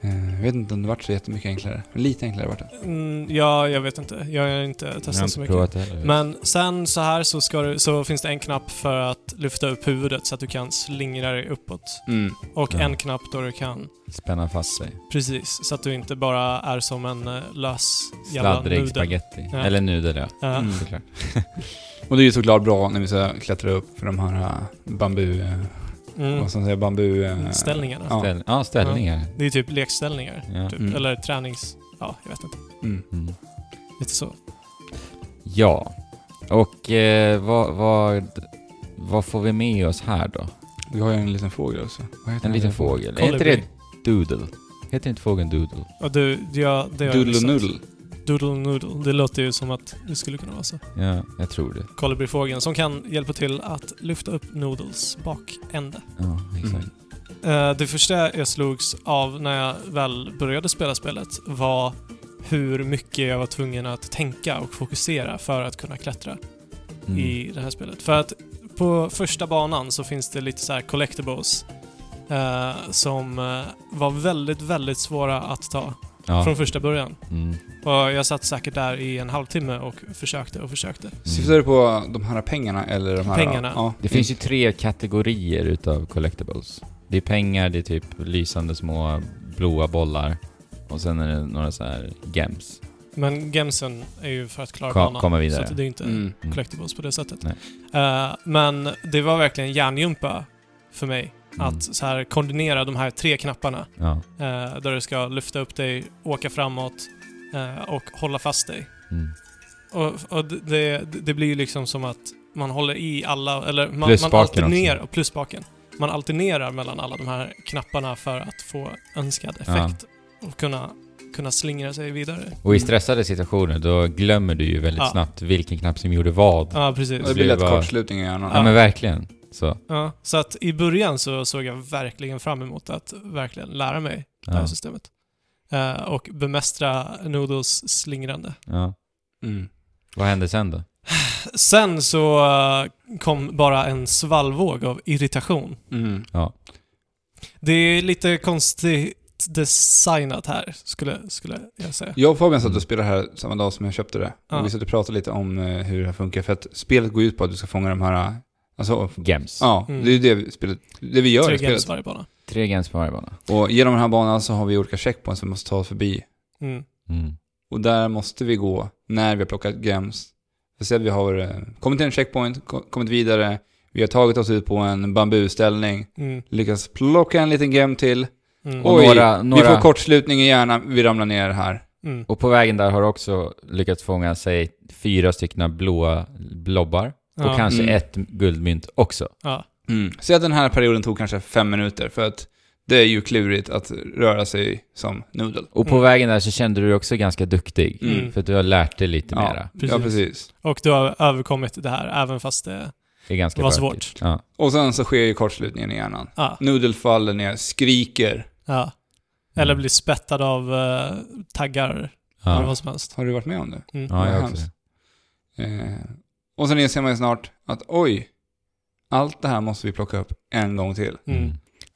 Eh, Jag vet inte om det vart så jättemycket enklare. Men Lite enklare vart det.
Mm, ja, jag vet inte. Jag har inte
Jag har
testat
inte
så mycket.
provat det heller.
Men sen så här så, ska du, så finns det en knapp för att lyfta upp huvudet så att du kan slingra dig uppåt.
Mm.
Och
Ja.
en knapp då du kan,
Spänna fast sig.
precis, så att du inte bara är som en eh, lös jävla
Sladdrig
nudel.
spagetti.
Ja.
Eller nudel ja.
Ja.
Mm.
Såklart.
Och det är ju såklart bra när vi ska klättra upp för de här eh, bambu... eh,
Mm.
Vad ska man säga? Bambu... eh,
Ställningarna.
Ja.
Ställ, ja, ställningar.
Det är typ lekställningar.
Ja.
Typ.
Mm.
Eller tränings... Ja, jag vet inte.
Mm.
Mm.
Lite så.
ja. Och eh, vad, vad, vad får vi med oss här då?
Vi har ju en liten fågel också. Vad heter
En
den?
liten fågel. Är inte
Kolibri.
det Doodle? Heter inte fågeln Doodle?
Och du, ja, det har jag
Doodle
missat.
Noodle.
Doodle Noodle. Det låter ju som att det skulle kunna vara så.
Ja, jag tror det.
Kolibrifågeln som kan hjälpa till att lyfta upp Noodles bakände.
Ja, exakt.
Mm.
Eh, Det första jag slogs av när jag väl började spela spelet var hur mycket jag var tvungen att tänka och fokusera för att kunna klättra
Mm.
i det här spelet. För att på första banan så finns det lite så här collectibles eh, som eh, var väldigt, väldigt svåra att ta
ja.
från första början.
Mm.
Och jag satt säkert där i en halvtimme och försökte och försökte.
Syftar du på de här pengarna eller de här...
Pengarna.
Ja.
Det finns ju tre kategorier utav collectibles. Det är pengar, det är typ lysande små blåa bollar och sen är det några så här gems.
Men gemsen är ju för att klara
Ka-
banan.
komma
Så
vidare.
att det är inte
Mm.
collectibles på det sättet.
Nej.
Eh, men det var verkligen hjärngympa för mig.
Mm.
Att så här kombinera de här tre knapparna.
Ja.
Eh, där du ska lyfta upp dig, åka framåt eh, och hålla fast dig.
Mm.
Och, och det- det, det blir ju liksom som att man håller i alla, eller man, man
Plusspaken också.
alternerar, och plusspaken. Man alternerar mellan alla de här knapparna för att få önskad effekt och kunna, kunna slingra sig vidare.
Och i stressade situationer, då glömmer du ju väldigt
Mm. Ja.
snabbt vilken knapp som gjorde vad. Ja,
Ja, precis.
Det blir lätt
bara-
kortslutning i hjärnan.
Ja.
men verkligen. Så.
Ja, så att i början så såg jag verkligen fram emot att verkligen lära mig det här
Ja,
systemet. Eh, och bemästra Noodles slingrande.
ja.
Mm.
Vad hände sen då?
Sen så eh, kom bara en svallvåg av irritation.
Mm.
Det är lite konstigt designat här, skulle, skulle jag säga.
Jag och Fabian satt och spelade här samma dag som jag köpte det.
Ja.
Och vi satt och pratade lite om eh, hur det här funkar. För att spelet går ut på att du ska fånga de här... eh, Alltså,
Gems.
ja,
Mm.
det är ju det, vi- spelet, det vi gör
Tre
i
games
spelet.
varje bana.
Tre gems på varje bana.
Och genom den här banan så har vi olika checkpoints som vi måste ta oss förbi.
Mm.
Mm.
Och där måste vi gå när vi har plockat gems. Vi ser att vi har eh, kommit till en checkpoint, ko- kommit vidare, vi har tagit oss ut på en bambuställning,
Mm.
lyckats plocka en liten gem till.
Mm.
Och
Oj,
några,
Vi
några...
får kortslutning i hjärnan, vi ramlar ner här.
Mm.
och på vägen där har du också lyckats fånga sig fyra stycken blåa blobbar.
Ja.
Och kanske
Mm.
ett guldmynt också.
Ja.
Mm. Så att den här perioden tog kanske fem minuter, för att det är ju klurigt att röra sig som nudel.
Och på
Mm.
vägen där så kände du dig också ganska duktig.
Mm.
För att du har lärt dig lite
Ja,
mera.
Ja, precis.
Och du har överkommit det här, även fast det...
Det är ganska
Vad
praktiskt.
svårt.
Ja.
Och sen så sker ju kortslutningen i hjärnan.
Ja.
Nudel faller ner, skriker.
ja. Eller blir spettad av eh, taggar, eller
Mm. Ja,
vad som helst.
Har du varit med om det?
Mm.
ja jag
Vad
också.
hemskt. Eh, och sen inser man ju snart att oj, allt det här måste vi plocka upp en gång till.
Mm.
Mm.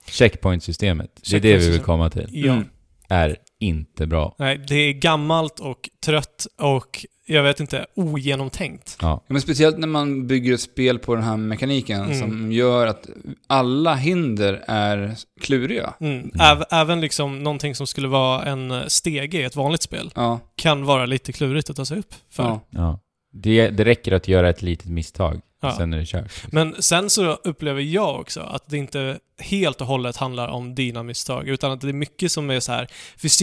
Checkpoint-systemet, det är det vi vill
Checkpoint-system.
komma till,
Ja.
Mm.
är inte bra.
Nej, det är gammalt och trött och, jag vet inte, ogenomtänkt.
Ja, men speciellt när man bygger ett spel på den här mekaniken
Mm.
som gör att alla hinder är kluriga.
Mm. Äv, även liksom någonting som skulle vara en eh, stege i ett vanligt spel
Ja,
kan vara lite klurigt att ta sig upp för.
ja.
Ja. Det, det räcker att göra ett litet misstag,
Ja.
sen är det kört.
Men sen så upplever jag också att det inte helt och hållet handlar om dina misstag, utan att det är mycket som är så här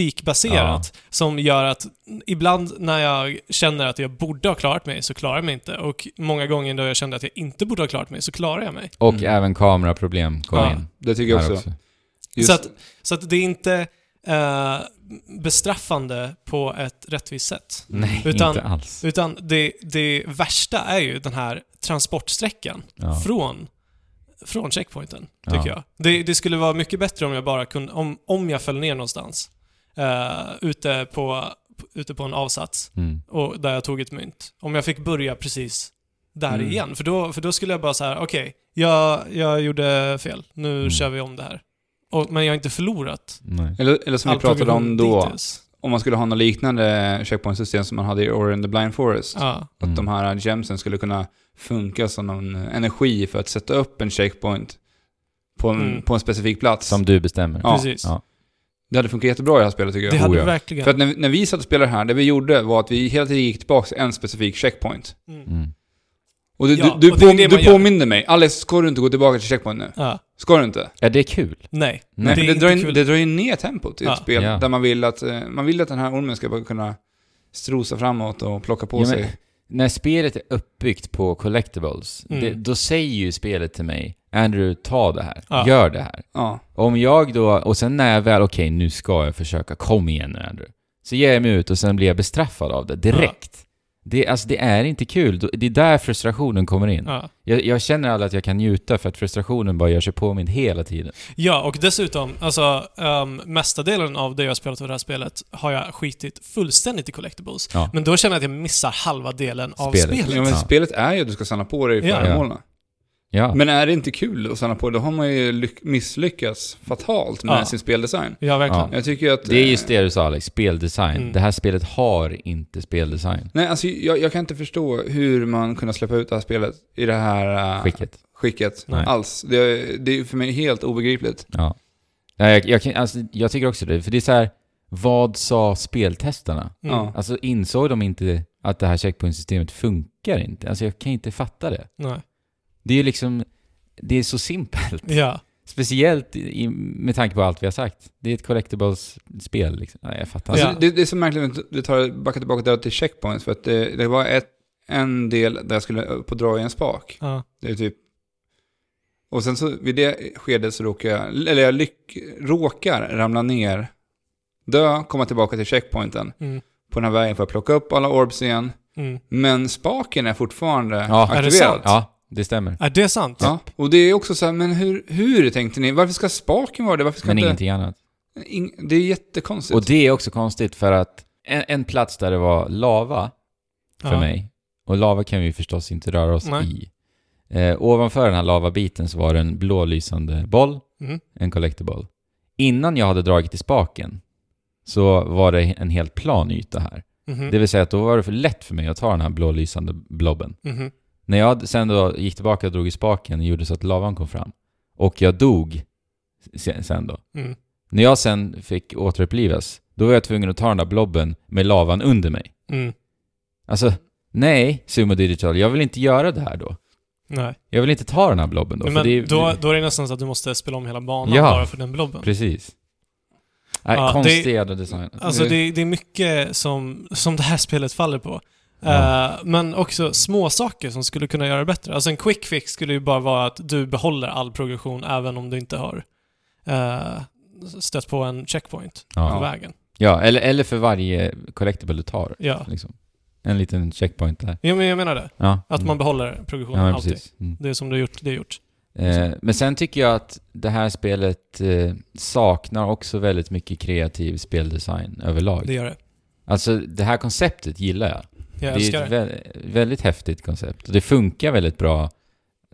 fysikbaserat, som gör att ibland när jag känner att jag borde ha klarat mig så klarar jag mig inte. Och många gånger då jag kände att jag inte borde ha klarat mig så klarar jag mig.
Och
Mm.
även kameraproblem kom
Ja,
in.
det tycker jag
här
också. Just,
Så att- Så att det är inte eh, bestraffande på ett rättvist sätt.
Nej,
Utan-
inte alls.
Utan det, det värsta är ju den här transportsträckan
Ja.
från, från checkpointen,
Ja.
tycker jag. Det, det skulle vara mycket bättre om jag bara kunde, om, om jag föll ner någonstans uh, ute, på, ute på en avsats
Mm.
och där jag tog ett mynt. Om jag fick börja precis där
Mm.
igen, för då, för då skulle jag bara så här: okej, jag, jag gjorde fel, nu
Mm.
kör vi om det här. Och, men jag har inte förlorat
Nej.
eller, eller som vi
all
pratade om
progression
då,
dittills.
om man skulle ha något liknande checkpoint-system som man hade i Ori and the Blind Forest.
Ja,
Att
Mm.
de här gemsen skulle kunna funka som någon energi för att sätta upp en checkpoint på en,
Mm.
på en specifik plats.
Som du bestämmer.
Ja.
precis.
Ja.
Det hade funkat jättebra i det här spelet tycker jag.
Det hade
Oh, ja.
verkligen...
För att när, när vi satt och spelade här, det vi gjorde var att vi hela tiden gick tillbaka till en specifik checkpoint.
Mm.
Mm.
Och du,
Ja,
du, du,
och det är
påm-
det man
du
gör.
påminner mig. Alex, ska du inte gå tillbaka till checkpoint nu?
Ja,
Ska du inte?
ja, det är kul.
nej.
Nej,
för
det är
det,
inte
drar ju,
kul.
det drar ju ner tempot i
Ja.
ett spel
Ja.
där man vill, att, eh, man vill att den här ormen ska bara kunna strosa framåt och plocka på
Ja, men-
sig.
När spelet är uppbyggt på collectibles,
Mm.
det, då säger ju spelet till mig Andrew, ta det här.
Ja.
Gör det här.
Ja.
Om jag då, och sen när jag väl, okej nu ska jag försöka, kom igen nu Andrew. Så ger jag mig ut och sen blir jag bestraffad av det direkt. Det, alltså, det är inte kul, Då- det är där frustrationen kommer in.
Ja.
Jag, jag känner aldrig att jag kan njuta för att frustrationen bara gör sig påmind hela tiden.
Ja, och dessutom, alltså um, mestadelen av det jag har spelat av det här spelet har jag skitit fullständigt i collectibles.
Ja.
Men då känner jag att jag missar halva delen av
Spelet.
spelet.
Ja, men
Ja.
spelet är ju att du ska samla på dig
Ja.
föremålen.
Ja,
Men är det inte kul att samla på, då har man ju lyck- misslyckats fatalt med
Ja.
sin speldesign.
Ja, verkligen.
Jag tycker ju att...
det är just
eh,
det du sa Alex, speldesign.
Mm.
Det här spelet har inte speldesign.
Nej, alltså jag, jag kan inte förstå hur man kunde släppa ut det här spelet i det här eh,
Skicket.
skicket
Nej.
alls. Det, det är för mig helt obegripligt.
Ja. Nej, jag, jag, kan- alltså, jag tycker också det, för det är så här, vad sa speltestarna?
Mm.
Ja.
Alltså insåg de inte att det här checkpointsystemet funkar inte? Alltså jag kan inte fatta det.
Nej.
Det är ju liksom det är så simpelt.
Ja.
Speciellt i, med tanke på allt vi har sagt. Det är ett collectibles-spel liksom. Nej, jag fattar
Alltså,
inte.
Ja.
det, det är så märkligt att du tar backar tillbaka där till checkpoints för att det, det var ett, en del där jag skulle upp och dra i en spak.
ja.
Det är typ... Och sen så vid det skedet så råkar jag, eller jag lyck, råkar ramla ner, dö, komma tillbaka till checkpointen.
Mm.
På den här vägen för att plocka upp alla orbs igen.
Mm.
Men spaken är fortfarande
Ja. Är
aktiverad.
det
sant?
Ja, det stämmer.
Är det sant?
Ja, och det är också så här, men hur, hur tänkte ni? Varför ska spaken vara det? Varför ska
Men
inte...
ingenting annat.
Ing- det är jättekonstigt.
Och det är också konstigt för att en, en plats där det var lava för
Ja.
mig, och lava kan vi ju förstås inte röra oss
Nej.
i. Eh, ovanför den här lavabiten så var det en blålysande boll,
Mm.
en collectible. Innan jag hade dragit i spaken så var det en helt plan yta här.
Mhm.
Det vill säga att då var det för lätt för mig att ta den här blålysande blobben.
Mhm.
När jag sen då gick tillbaka och drog i spaken gjorde så att lavan kom fram. Och jag dog se- sen då.
Mm.
När jag sen fick återupplivas, då var jag tvungen att ta den där blobben med lavan under mig.
Mm.
Alltså, nej, Sumo Digital, jag vill inte göra det här då.
Nej.
Jag vill inte ta den här blobben då,
Men
för det är,
då, då är det nästan så att du måste spela om hela banan
Ja.
bara för den blobben.
Precis. Nej,
Ja, det-
konstig jävla design.
Alltså
Det-
det, det är mycket som, som det här spelet faller på.
Ja.
Eh, men också små saker som skulle kunna göra det bättre. Alltså en quick fix skulle ju bara vara att du behåller all progression även om du inte har eh, stött på en checkpoint på
Ja,
vägen.
ja eller, eller för varje collectible du tar.
Ja.
Liksom. En liten checkpoint där.
Jo, men jag menar det.
Ja.
Att man
Mm.
behåller progressionen
ja, men
alltid.
precis. Mm.
Det är som du har gjort, det är gjort.
Eh, men sen tycker jag att det här spelet eh, saknar också väldigt mycket kreativ speldesign överlag.
Det gör det.
Alltså det här konceptet gillar jag.
Jag
det
älskar
är
det.
ett vä- väldigt häftigt koncept. Och det funkar väldigt bra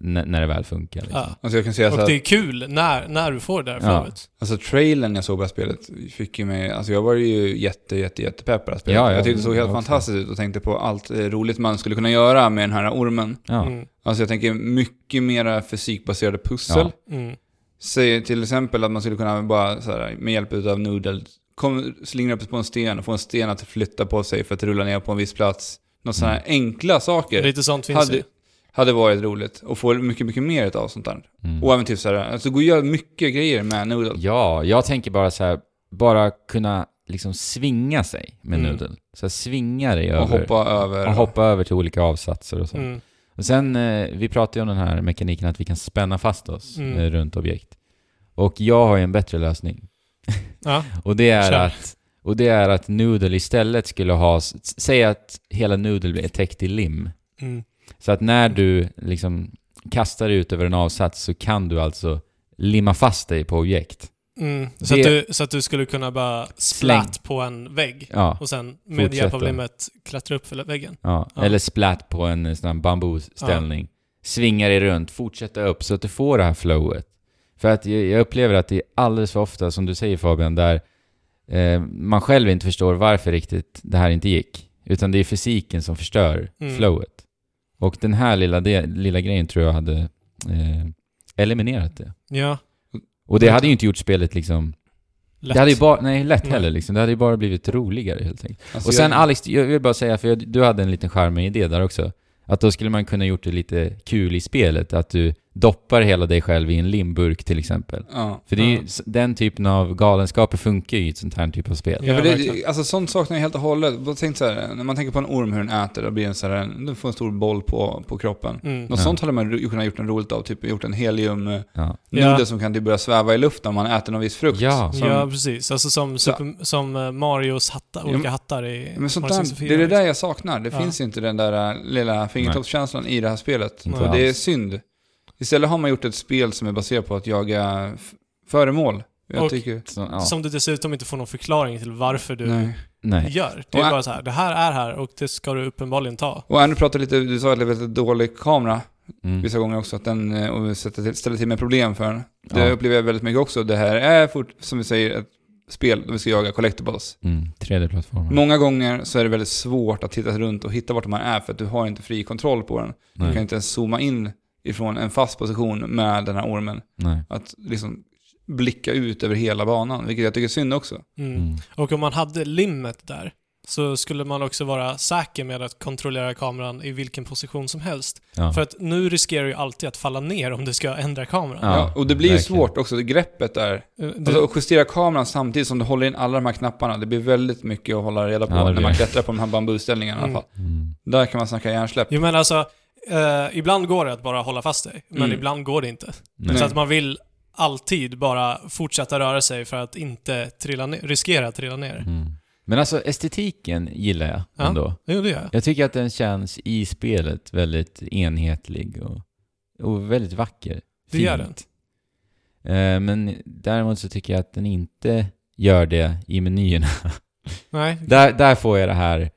n- när det väl funkar. Liksom.
Ja.
Alltså jag kan säga så
Och
att,
det är kul när, när du får det här
Ja.
flowet.
alltså trailern jag såg på det här spelet fick ju mig, alltså jag var ju jätte, jätte, jättepepp på det här spelet.
Ja, ja,
jag tyckte det såg helt
jag också.
fantastiskt ut och tänkte på allt eh, roligt man skulle kunna göra med den här ormen.
Ja.
Mm.
Alltså jag tänker mycket mera fysikbaserade pussel.
Ja.
Mm.
Säg till exempel att man skulle kunna bara så här, med hjälp av Noodle, kom, slingra upp på en sten och få en sten att flytta på sig för att rulla ner på en viss plats. Några sådana
Mm.
här enkla saker
Lite sånt finns
hade,
det.
hade varit roligt. Och få mycket, mycket mer av sånt där.
Mm.
Och även typ så här, alltså det går att göra mycket grejer med Noodle.
Ja, jag tänker bara så här, bara kunna liksom svinga sig med
Mm.
Noodle. Så här, svinga dig
Och
över.
hoppa över.
och hoppa över till olika avsatser och så.
Mm.
Och sen, eh, vi pratade ju om den här mekaniken att vi kan spänna fast oss
Mm.
eh, runt objekt. Och jag har ju en bättre lösning.
Ja.
Och det är
Kör.
att och det är att Noodle istället skulle ha, s- s- säg att hela Noodle är täckt i lim.
Mm.
Så att när du liksom kastar dig ut över en avsats så kan du alltså limma fast dig på objekt.
Mm. Så,
Det-
att du, så att du skulle kunna bara
Släng.
splatt på en vägg
Ja.
och sen med
Fortsätta.
hjälp av limmet klättra upp för väggen.
Ja,
Ja.
eller splat på en eh, sån här bambuställning. Svinga dig runt, fortsätta upp så att du får det här flowet. För att jag jag upplever att det är alldeles för ofta, som du säger Fabian, där eh, man själv inte förstår varför riktigt det här inte gick. Utan det är fysiken som förstör
Mm.
flowet. Och den här lilla, de, lilla grejen tror jag hade eh, eliminerat det.
Ja,
Och det hade ju inte gjort spelet liksom...
lätt.
Det hade ju bara... Nej, lätt heller
Nej.
liksom. Det hade ju bara blivit roligare helt enkelt.
Alltså
Och sen
jag,
Alex, jag vill bara säga, för jag, du hade en liten charmig idé där också. Att då skulle man kunna gjort det lite kul i spelet, att du doppar hela dig själv i en limburk till exempel.
ja.
För det är ju,
Ja.
s- den typen av galenskaper funkar ju i ett sånt här typ av spel.
Ja,
Ja, för det,
verkligen.
alltså sånt saknar jag helt och hållet. Bara Tänk så här, när man tänker på en orm, hur den äter, då blir den så här, en- den får en stor boll på, på kroppen.
Mm.
Något
Ja.
sånt hade man ju kunnat gjort något roligt av, typ gjort en helium eh,
Ja.
nudel
Ja.
som kan typ börja sväva i luften om man äter någon viss frukt.
Ja.
Som,
Ja, precis. Alltså som, super, som eh, Marios hattar,
Ja,
olika
men-
hattar i
Men sånt
Mario
där,
64,
det är det
liksom.
där jag saknar. Det
Ja.
finns inte den där äh, lilla fingertoppskänslan i det här spelet.
Inte
Och det är
alls.
synd. Istället har man gjort ett spel som är baserat på att jaga f- föremål. Jag
Och-
tycker...
Så, ja.
Som du dessutom inte får någon förklaring till varför du
Nej.
Nej.
gör. Det
Och
är
ä-
bara så här, det här är här och det ska du uppenbarligen ta.
Och Andrew pratade lite, du sa att det var lite dålig kamera
Mm.
vissa gånger också, att den eh, och sätter till, ställer till med problem för en. Det
Ja.
upplever jag väldigt mycket också. Det här är fort, som vi säger, ett spel där vi ska jaga collectibles.
Mm. 3D-plattformen.
Många gånger så är det väldigt svårt att titta runt och hitta vart man är för att du har inte fri kontroll på den. Du
Nej.
kan inte ens zooma in ifrån en fast position med den här ormen.
Nej.
Att liksom blicka ut över hela banan, vilket jag tycker är synd också.
Mm.
Mm.
Och om man hade limmet där, så skulle man också vara säker med att kontrollera kameran i vilken position som helst.
Ja.
För att nu riskerar du ju alltid att falla ner om du ska ändra kameran.
Ja,
Ja, och det blir ju
verkligen.
svårt också, greppet där.
Eh, det-
Alltså att justera kameran samtidigt som du håller in alla de här knapparna, det blir väldigt mycket att hålla reda på
Ja, det
när
blir
man
det.
klättrar på de här bambuställningarna i alla
Mm.
fall. Där kan man snacka hjärnsläpp.
Jo men alltså, eh, ibland går det att bara hålla fast dig, men
Mm.
ibland går det inte.
Nej.
Så att man vill alltid bara fortsätta röra sig för att inte trilla ner, riskera att trilla ner.
Mm. Men alltså estetiken gillar jag
Ja.
ändå.
Jo, det gör jag.
Jag tycker att den känns i spelet väldigt enhetlig och, och väldigt vacker.
Det gör
Fint. Eh, Men däremot så tycker jag att den inte gör det i menyerna.
Nej.
Där, där får jag det här,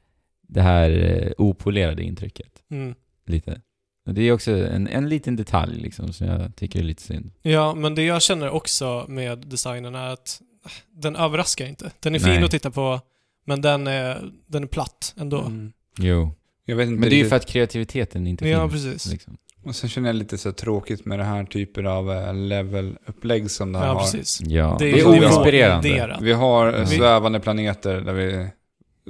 det här eh, opolerade intrycket.
Mm.
Lite. Och det är också en, en liten detalj liksom som jag tycker är lite synd.
Ja, men det jag känner också med designen är att eh, den överraskar inte. Den är fin
Nej.
att titta på, men den är, den är platt ändå.
Mm.
Jo.
Jag vet inte
Men det är ju
riktigt.
för att kreativiteten inte
ja,
finns.
precis.
Liksom.
Och sen känner jag lite så här tråkigt med det här typen av eh, level-upplägg som det här
Ja,
har.
precis.
Ja. Det är,
Det är
oinspirerande.
oinspirerat.
Vi har eh,
Ja.
svävande planeter där vi...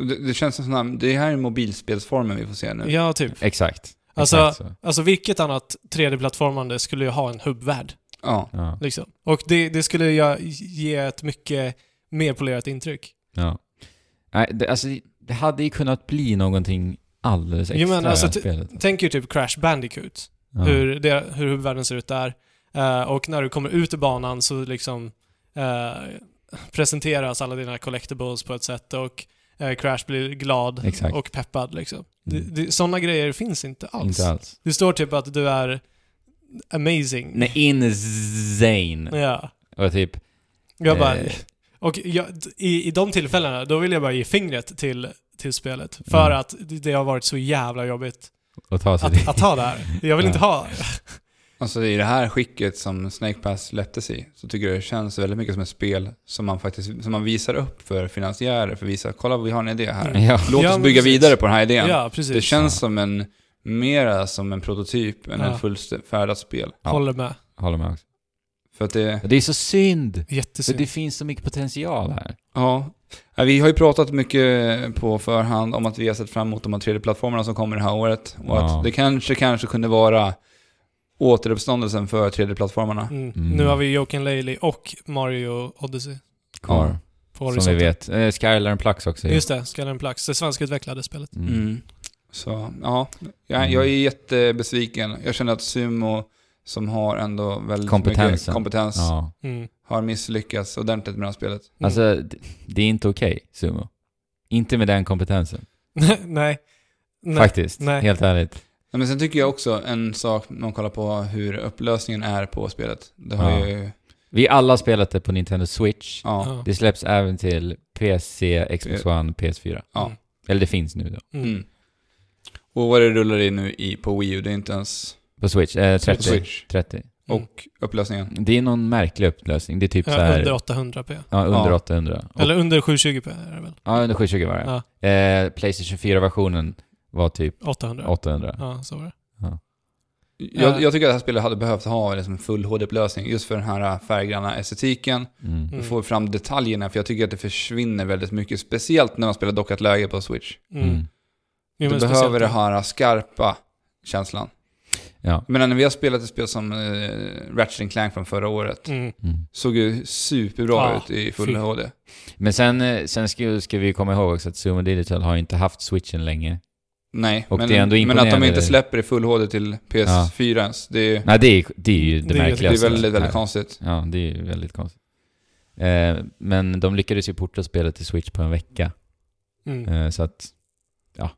Det, det känns som sådana, det här är mobilspelsformen vi får se nu.
Ja, typ.
Exakt.
Alltså-
Exakt så.
Alltså vilket annat 3D-plattformande skulle ju ha en hubbvärld?
Ja.
Ja.
Liksom. Och det, det skulle jag ge ett mycket mer polerat intryck.
Ja. Nej, det, alltså, det hade ju kunnat bli någonting alldeles extra
Jo, men alltså,
i det
ty-
här spelet.
Tänk ju typ Crash Bandicoot,
Ja.
hur, det, hur hubbvärlden ser ut där. Eh, och när du kommer ut ur banan så liksom eh, presenteras alla dina collectibles på ett sätt och eh, Crash blir glad
Exakt.
och peppad. Liksom.
Mm.
Det, det, sådana grejer finns inte alls.
Inte alls.
Det står typ att du är amazing.
Nej, insane.
Ja.
Och typ...
Jag bara,
eh,
Och jag, i, i de tillfällena, då vill jag bara ge fingret till, till spelet. För
Mm.
att det har varit så jävla jobbigt
och ta sig
att, att ha det här. Jag vill inte ha
Alltså i det här skicket som Snake Pass släpptes i så tycker jag det känns väldigt mycket som ett spel som man faktiskt som man visar upp för finansiärer för att visa kolla vi har en idé här.
Mm.
Ja.
Låt
Ja,
oss
men
bygga
precis.
vidare på den här idén.
Ja, precis.
det känns som en mera som en prototyp än
Ja.
ett fullfärdat spel.
Ja.
Håller med.
Håller med också.
För att det,
Det är så synd! För
Jättesynd.
det finns så mycket potential här.
ja. Ja, Vi har ju pratat mycket på förhand om att vi har sett fram emot de här 3D-plattformarna som kommer det här året. Och
Ja.
att det kanske, kanske kunde vara återuppståndelsen för 3D-plattformarna.
Mm.
Mm.
Nu har vi Joken Laley och Mario Odyssey
Kvar.
på
som
horisonten.
vi vet. Eh, Skylar and Plux också. ju.
Just det, Skull and Plucks. Det svenskutvecklade spelet.
Mm.
Mm. Så ja, jag, jag är jättebesviken. Jag känner att Sumo som har ändå väldigt
Kompetensen.
mycket kompetens
Ja.
Mm. Mm.
har misslyckats ordentligt med det här spelet.
Alltså, det, det är inte okej, Sumo. Inte med den kompetensen.
Nej. Nej.
Faktiskt.
Nej.
Helt ärligt.
Ja, Men sen tycker jag också en sak, när man kollar på hur upplösningen är på spelet. Det har
Ja.
ju...
Vi alla har spelat det på Nintendo Switch.
Ja.
Det släpps även till PC, Xbox One, PS4.
Ja.
Mm.
Eller det finns nu då.
Mm.
Mm. Och vad det rullar i nu i, på Wii U, det är inte ens
På Switch. Eh,
på
30.
Switch.
30.
Mm.
Och upplösningen.
Det är någon märklig upplösning. Det är typ så
Ja,
här...
under 800p.
ja, under
Ja.
800. Och,
Eller under 720p är det väl?
ja, under 720 var det. Eh, Playstation 4-versionen var typ
800.
800.
Ja, så var det. Ja.
Jag, jag tycker att det här spelet hade behövt ha liksom full HD-upplösning just för den här färggranna estetiken.
Mm.
Du
Mm.
får fram detaljerna, för jag tycker att det försvinner väldigt mycket. Speciellt när man spelar dockat läge på Switch.
Mm.
Mm.
Jo,
Du
men
behöver
speciellt-
det här skarpa känslan.
Ja.
Men när vi har spelat ett spel som eh, Ratchet and Clank från förra året,
Mm.
Mm.
såg ju superbra
Ah,
ut i full
fy.
HD.
Men sen, eh, sen ska, ska vi komma ihåg också att Sumo Digital har inte haft switchen länge.
Nej,
Och
men,
det är ändå
men att de
imponerande.
inte släpper i full HD till PS4 ens, det är,
Nej, det är, det är ju det,
Det är- det är
det är
märkligaste.
väldigt,
här.
väldigt konstigt.
Ja, det är ju väldigt konstigt. Eh, men de lyckades ju porta spelet till Switch på en vecka.
Mm.
Eh, så att, ja.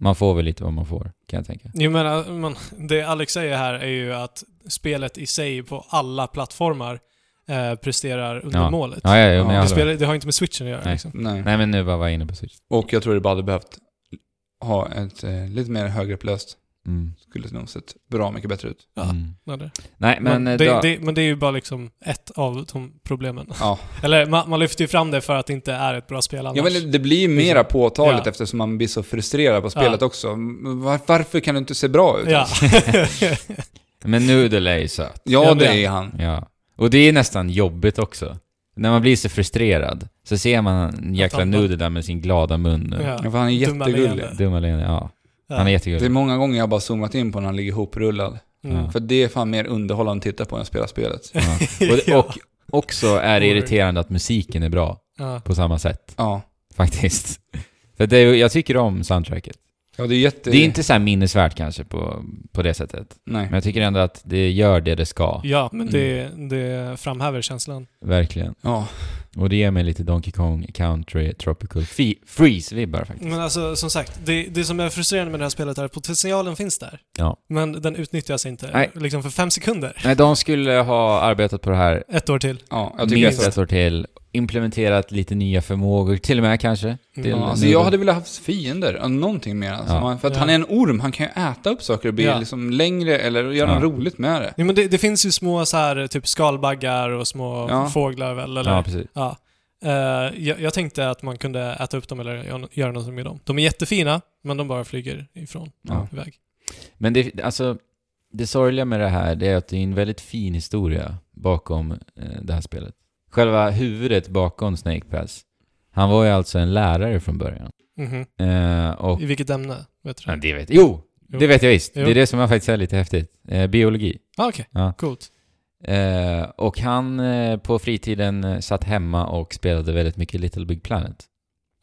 Man får väl lite vad man får, kan jag tänka.
Jo men äh, man, det Alex säger här är ju att spelet i sig på alla plattformar eh, presterar undermålet.
Ja, ja, ja, men jag
Ja,
det,
håller med.
spelar, det har inte med switchen att göra
Nej.
liksom.
Nej.
Nej, men nu bara var jag inne på Switch.
Och jag tror det bara hade behövt ha ett eh, lite mer högupplöst.
Mm.
Skulle nog sett bra mycket bättre ut.
Ja.
Mm.
Ja, det.
Nej, men...
Men,
eh,
det,
då,
det, men det är ju bara liksom ett av de problemen.
Ja.
Eller man, man lyfter ju fram det för att det inte är ett bra spel annars.
Ja, men det blir ju mera påtagligt
Ja.
eftersom man blir så frustrerad på spelet också. Var, varför kan du inte se bra ut?
Ja.
Men Noodle är ju söt.
Ja,
Ja,
det
det-
är han.
Ja. Och det är nästan jobbigt också. När man blir så frustrerad så ser man en jäkla
Att han-
nudel där med sin glada mun.
Ja.
Ja, för han är
Dumma
jättegullig.
leende.
Dumma leende, ja.
Ja.
Han är
Det är
jättegullig.
många gånger jag har bara zoomat in på när han ligger ihoprullad.
Mm.
För det är fan mer underhållande att titta på än att spela spelet.
Ja.
Ja.
Och, och också är det irriterande att musiken är bra
Ja.
på samma sätt,
Ja.
faktiskt. För det är, ju- jag tycker om soundtracket.
Ja, det är jätte...
Det, är inte så här minnesvärt kanske på, på det sättet. Men
Nej.
jag tycker ändå att det gör det det ska,
ja, men det,
Mm.
det framhäver känslan.
verkligen.
Ja.
Och det ger mig lite Donkey Kong Country Tropical Fe- Freeze-vibbar faktiskt.
Men alltså, som sagt, det, det som är frustrerande med det här spelet är att potentialen finns där.
Ja.
Men den utnyttjas inte.
Nej.
Liksom för fem sekunder.
Nej, de skulle ha arbetat på det här
Ett år till.
ja jag tycker
minst
det är
ett
så.
år till, implementerat lite nya förmågor, till och med kanske. Till
Ja, alltså
nu-
jag hade velat ha haft fiender, ja, någonting mer. Alltså.
Ja.
Man- För att
Ja.
han är en orm, han kan ju äta upp saker och bli
Ja.
liksom längre eller göra
Ja.
något roligt med det.
Ja, men det, det finns ju små så här, typ skalbaggar och små
Ja.
fåglar väl, eller?
Ja,
Ja.
precis.
Eh, jag, jag tänkte att man kunde äta upp dem eller gö- göra något med dem. De är jättefina, men de bara flyger ifrån.
Ja.
Iväg.
Men det, alltså, det sorgliga med det här det är att det är en väldigt fin historia bakom eh, det här spelet. Själva huvudet bakom Snake Pass, han var ju alltså en lärare från början.
Mhm.
Eh, och...
I vilket ämne? Vet du?
Men det vet Jo!
Jo.
Det vet jag visst.
Jo.
Det är det som jag faktiskt är lite häftigt. Eh, biologi.
Ah, Okej,
Ja.
coolt.
Eh, och han eh, på fritiden eh, satt hemma och spelade väldigt mycket Little Big Planet.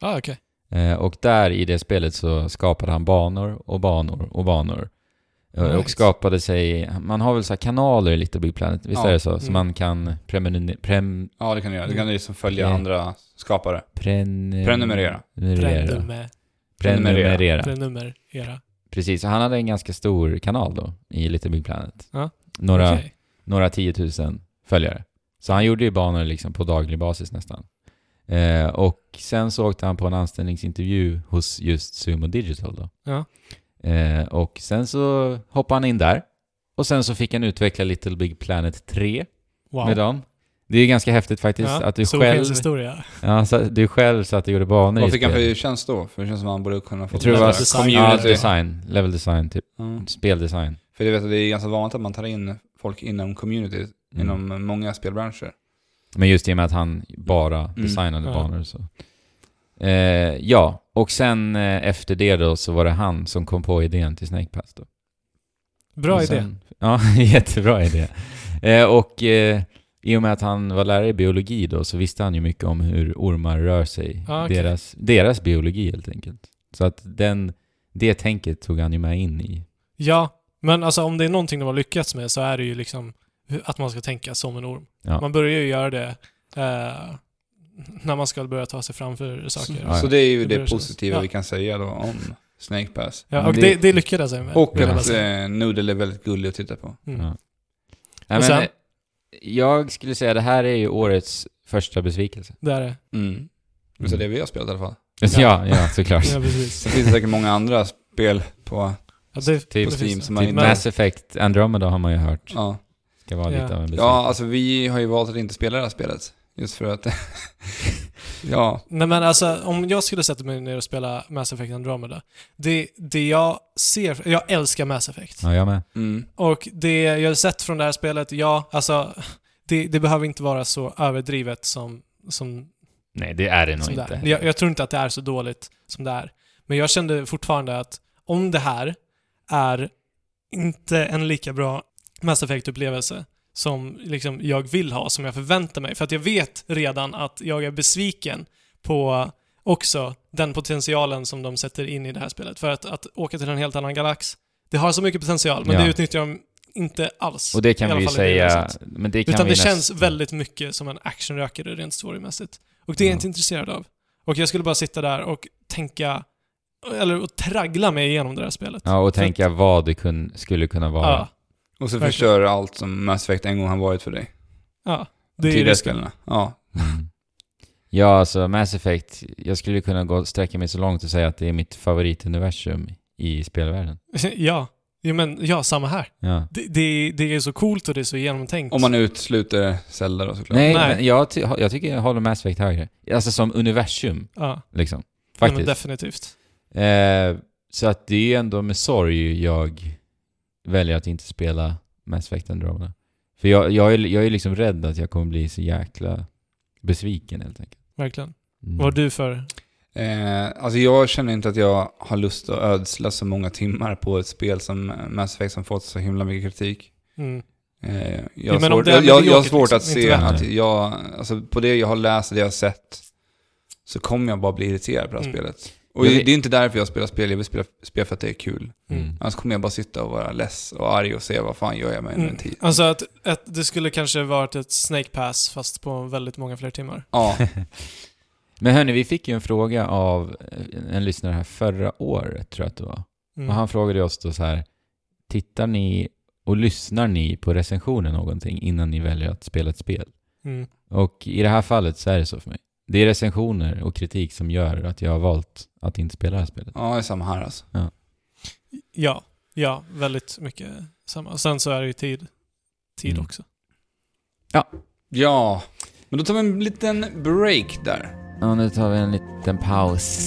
Ah, okej.
Eh, och där i det spelet så skapade han banor och banor och banor. Eh, Och
Nice.
skapade sig, man har väl så här kanaler i Little Big Planet, visst
Ja.
är det så? Så
Mm.
man kan prenumerera. Prem,
Ja, det kan du göra. Du kan liksom följa
Mm.
andra skapare.
prenum-
Prenumerera.
Prenumerera.
Prenumer-
Prenumerera.
Prenumerera.
Precis, så han hade en ganska stor kanal då i Little Big Planet.
Ja.
Några,
Okej.
några tiotusen följare. Så han gjorde ju banor liksom på daglig basis nästan. Eh, och sen så åkte han på en anställningsintervju hos just Sumo Digital då.
Ja.
Eh, och sen så hoppade han in där. Och sen så fick han utveckla Little Big Planet 3
Wow.
med dem. Det är ju ganska häftigt faktiskt
Ja,
att du
stor
själv,
historia.
ja, så, du själv så att du gjorde banor i
Vad fick han
spelet.
för tjänst då? För det känns som att han borde kunna få...
Jag tror det var
sådär
Ja,
Community.
design. Level design typ.
Ja.
Speldesign.
För du vet att det är ganska vanligt att man tar in folk inom communityt,
Mm.
inom många spelbranscher.
Men just i och med att han bara designade
Ja.
banor och så. Eh, ja, och sen eh, efter det då så var det han som kom på idén till Snake Pass då.
Bra
och
idé.
sen, idé. Ja, jättebra idé. Eh, och eh, i och med att han var lärare i biologi då så visste han ju mycket om hur ormar rör sig.
Ah, okej.
deras, deras biologi helt enkelt. Så att den, det tänket tog han ju med in i.
Ja, men alltså om det är någonting de har lyckats med så är det ju liksom hur- att man ska tänka som en orm.
Ja.
Man börjar ju göra det eh, när man ska börja ta sig framför saker.
Ja, ja.
Så det är ju
Det
det,
blir så.
positiva
Ja.
vi kan säga då om Snake Pass.
Ja,
Men
och
det-
det, det, lyckades jag med.
Och
vill jag
att
säga.
eh, Noodle är väldigt gullig att titta på.
Mm.
Ja. Nej,
Och
men,
sen?
eh, jag skulle säga det här är ju årets första besvikelse.
Det är det.
Mm. Så det vi har spelat i alla fall.
Ja, ja, såklart.
Ja, precis.
Sen finns det säkert många andra spel på,
Ja, det,
Typ
på
det
Steam
finns det.
som man
typ
inte...
Mass Effect Andromeda har man ju hört
Ja.
ska vara
Ja.
lite av en besvikelse.
ja, alltså vi har ju valt att inte spela det här spelet. Just för att... ja.
Nej men alltså om jag skulle sätta mig ner och spela Mass Effect Andromeda, det, det jag ser, jag älskar Mass Effect.
ja, jag med.
Mm.
Och det jag har sett från det här spelet, ja, alltså det, det behöver inte vara så överdrivet som, som,
Nej, det är det nog
som det
inte.
är. Jag, jag tror inte att det är så dåligt som det är. Men jag kände fortfarande att om det här är inte en lika bra Mass Effect-upplevelse som liksom jag vill ha, som jag förväntar mig. För att jag vet redan att jag är besviken på också den potentialen som de sätter in i det här spelet. För att, att åka till en helt annan galax, det har så mycket potential, men
Ja.
det utnyttjar de inte alls.
Och det
I
kan
alla
vi ju
fall i det
säga,
avsnittet.
men det kan
Utan
vi
det
näst-
känns väldigt mycket som en actionrökare rent storymässigt. Och det är jag
Ja.
inte intresserad av. Och jag skulle bara sitta där och tänka, eller och traggla mig igenom det här spelet.
Ja, och
För att-
tänka vad det kun, skulle kunna vara.
Ja.
Och så
Verkligen.
förstör allt som Mass Effect en gång har varit för dig.
ja. Det är ju
Tidigare
risken.
spelen. Ja.
Mm. Ja, alltså Mass Effect, jag skulle kunna gå, sträcka mig så långt och säga att det är mitt favorituniversum i spelvärlden.
Ja. Jo, men ja, samma här.
Ja.
Det, det, det är så coolt och det är så genomtänkt.
Om man utesluter Zelda då såklart.
Nej,
Nej.
Men jag, ty- jag tycker jag håller Mass Effect högre. Alltså som universum,
Ja,
liksom.
nej, men
Faktiskt.
definitivt.
Eh, så att det är ju ändå med sorg jag väljer att inte spela Mass Effect Andromeda. För jag, jag, är, jag är liksom rädd att jag kommer bli så jäkla Besviken helt enkelt.
Verkligen.
Mm.
Vad har du för...
Eh, alltså jag känner inte att jag har lust att ödsla så många timmar på ett spel som Mass Effect som fått så himla mycket kritik.
Mm.
Eh,
Ja,
jag, har
men om
svårt,
det är
jag, jag, jag har
mediokert
svårt
liksom,
att se
inte
värt
att
det.
jag, alltså på det jag har läst och det jag har sett, så kommer jag bara bli irriterad på det här
Mm.
spelet. Och
Jag
det
vet-
är inte därför jag spelar spel, jag vill spela spel för att det är kul.
Mm.
Annars kommer jag bara sitta och vara less och arg och se vad fan gör jag med mm.
Mm.
en tid.
Alltså att, att det skulle kanske varit ett snake pass fast på väldigt många fler timmar.
Ja,
Men hörni, vi fick ju en fråga av eh, en lyssnare här förra året, tror jag att det var.
Mm.
Och han frågade oss då så här, tittar ni och lyssnar ni på recensioner någonting innan ni väljer att spela ett spel?
Mm.
Och i det här fallet så är det så för mig. Det är recensioner och kritik som gör att jag har valt att inte spela det här spelet.
ja det är samma här alltså.
Ja, ja, väldigt mycket samma. Och sen så är det ju tid. Tid
Mm.
också.
Ja, men då tar vi en liten break där.
Ja, nu tar vi en liten paus.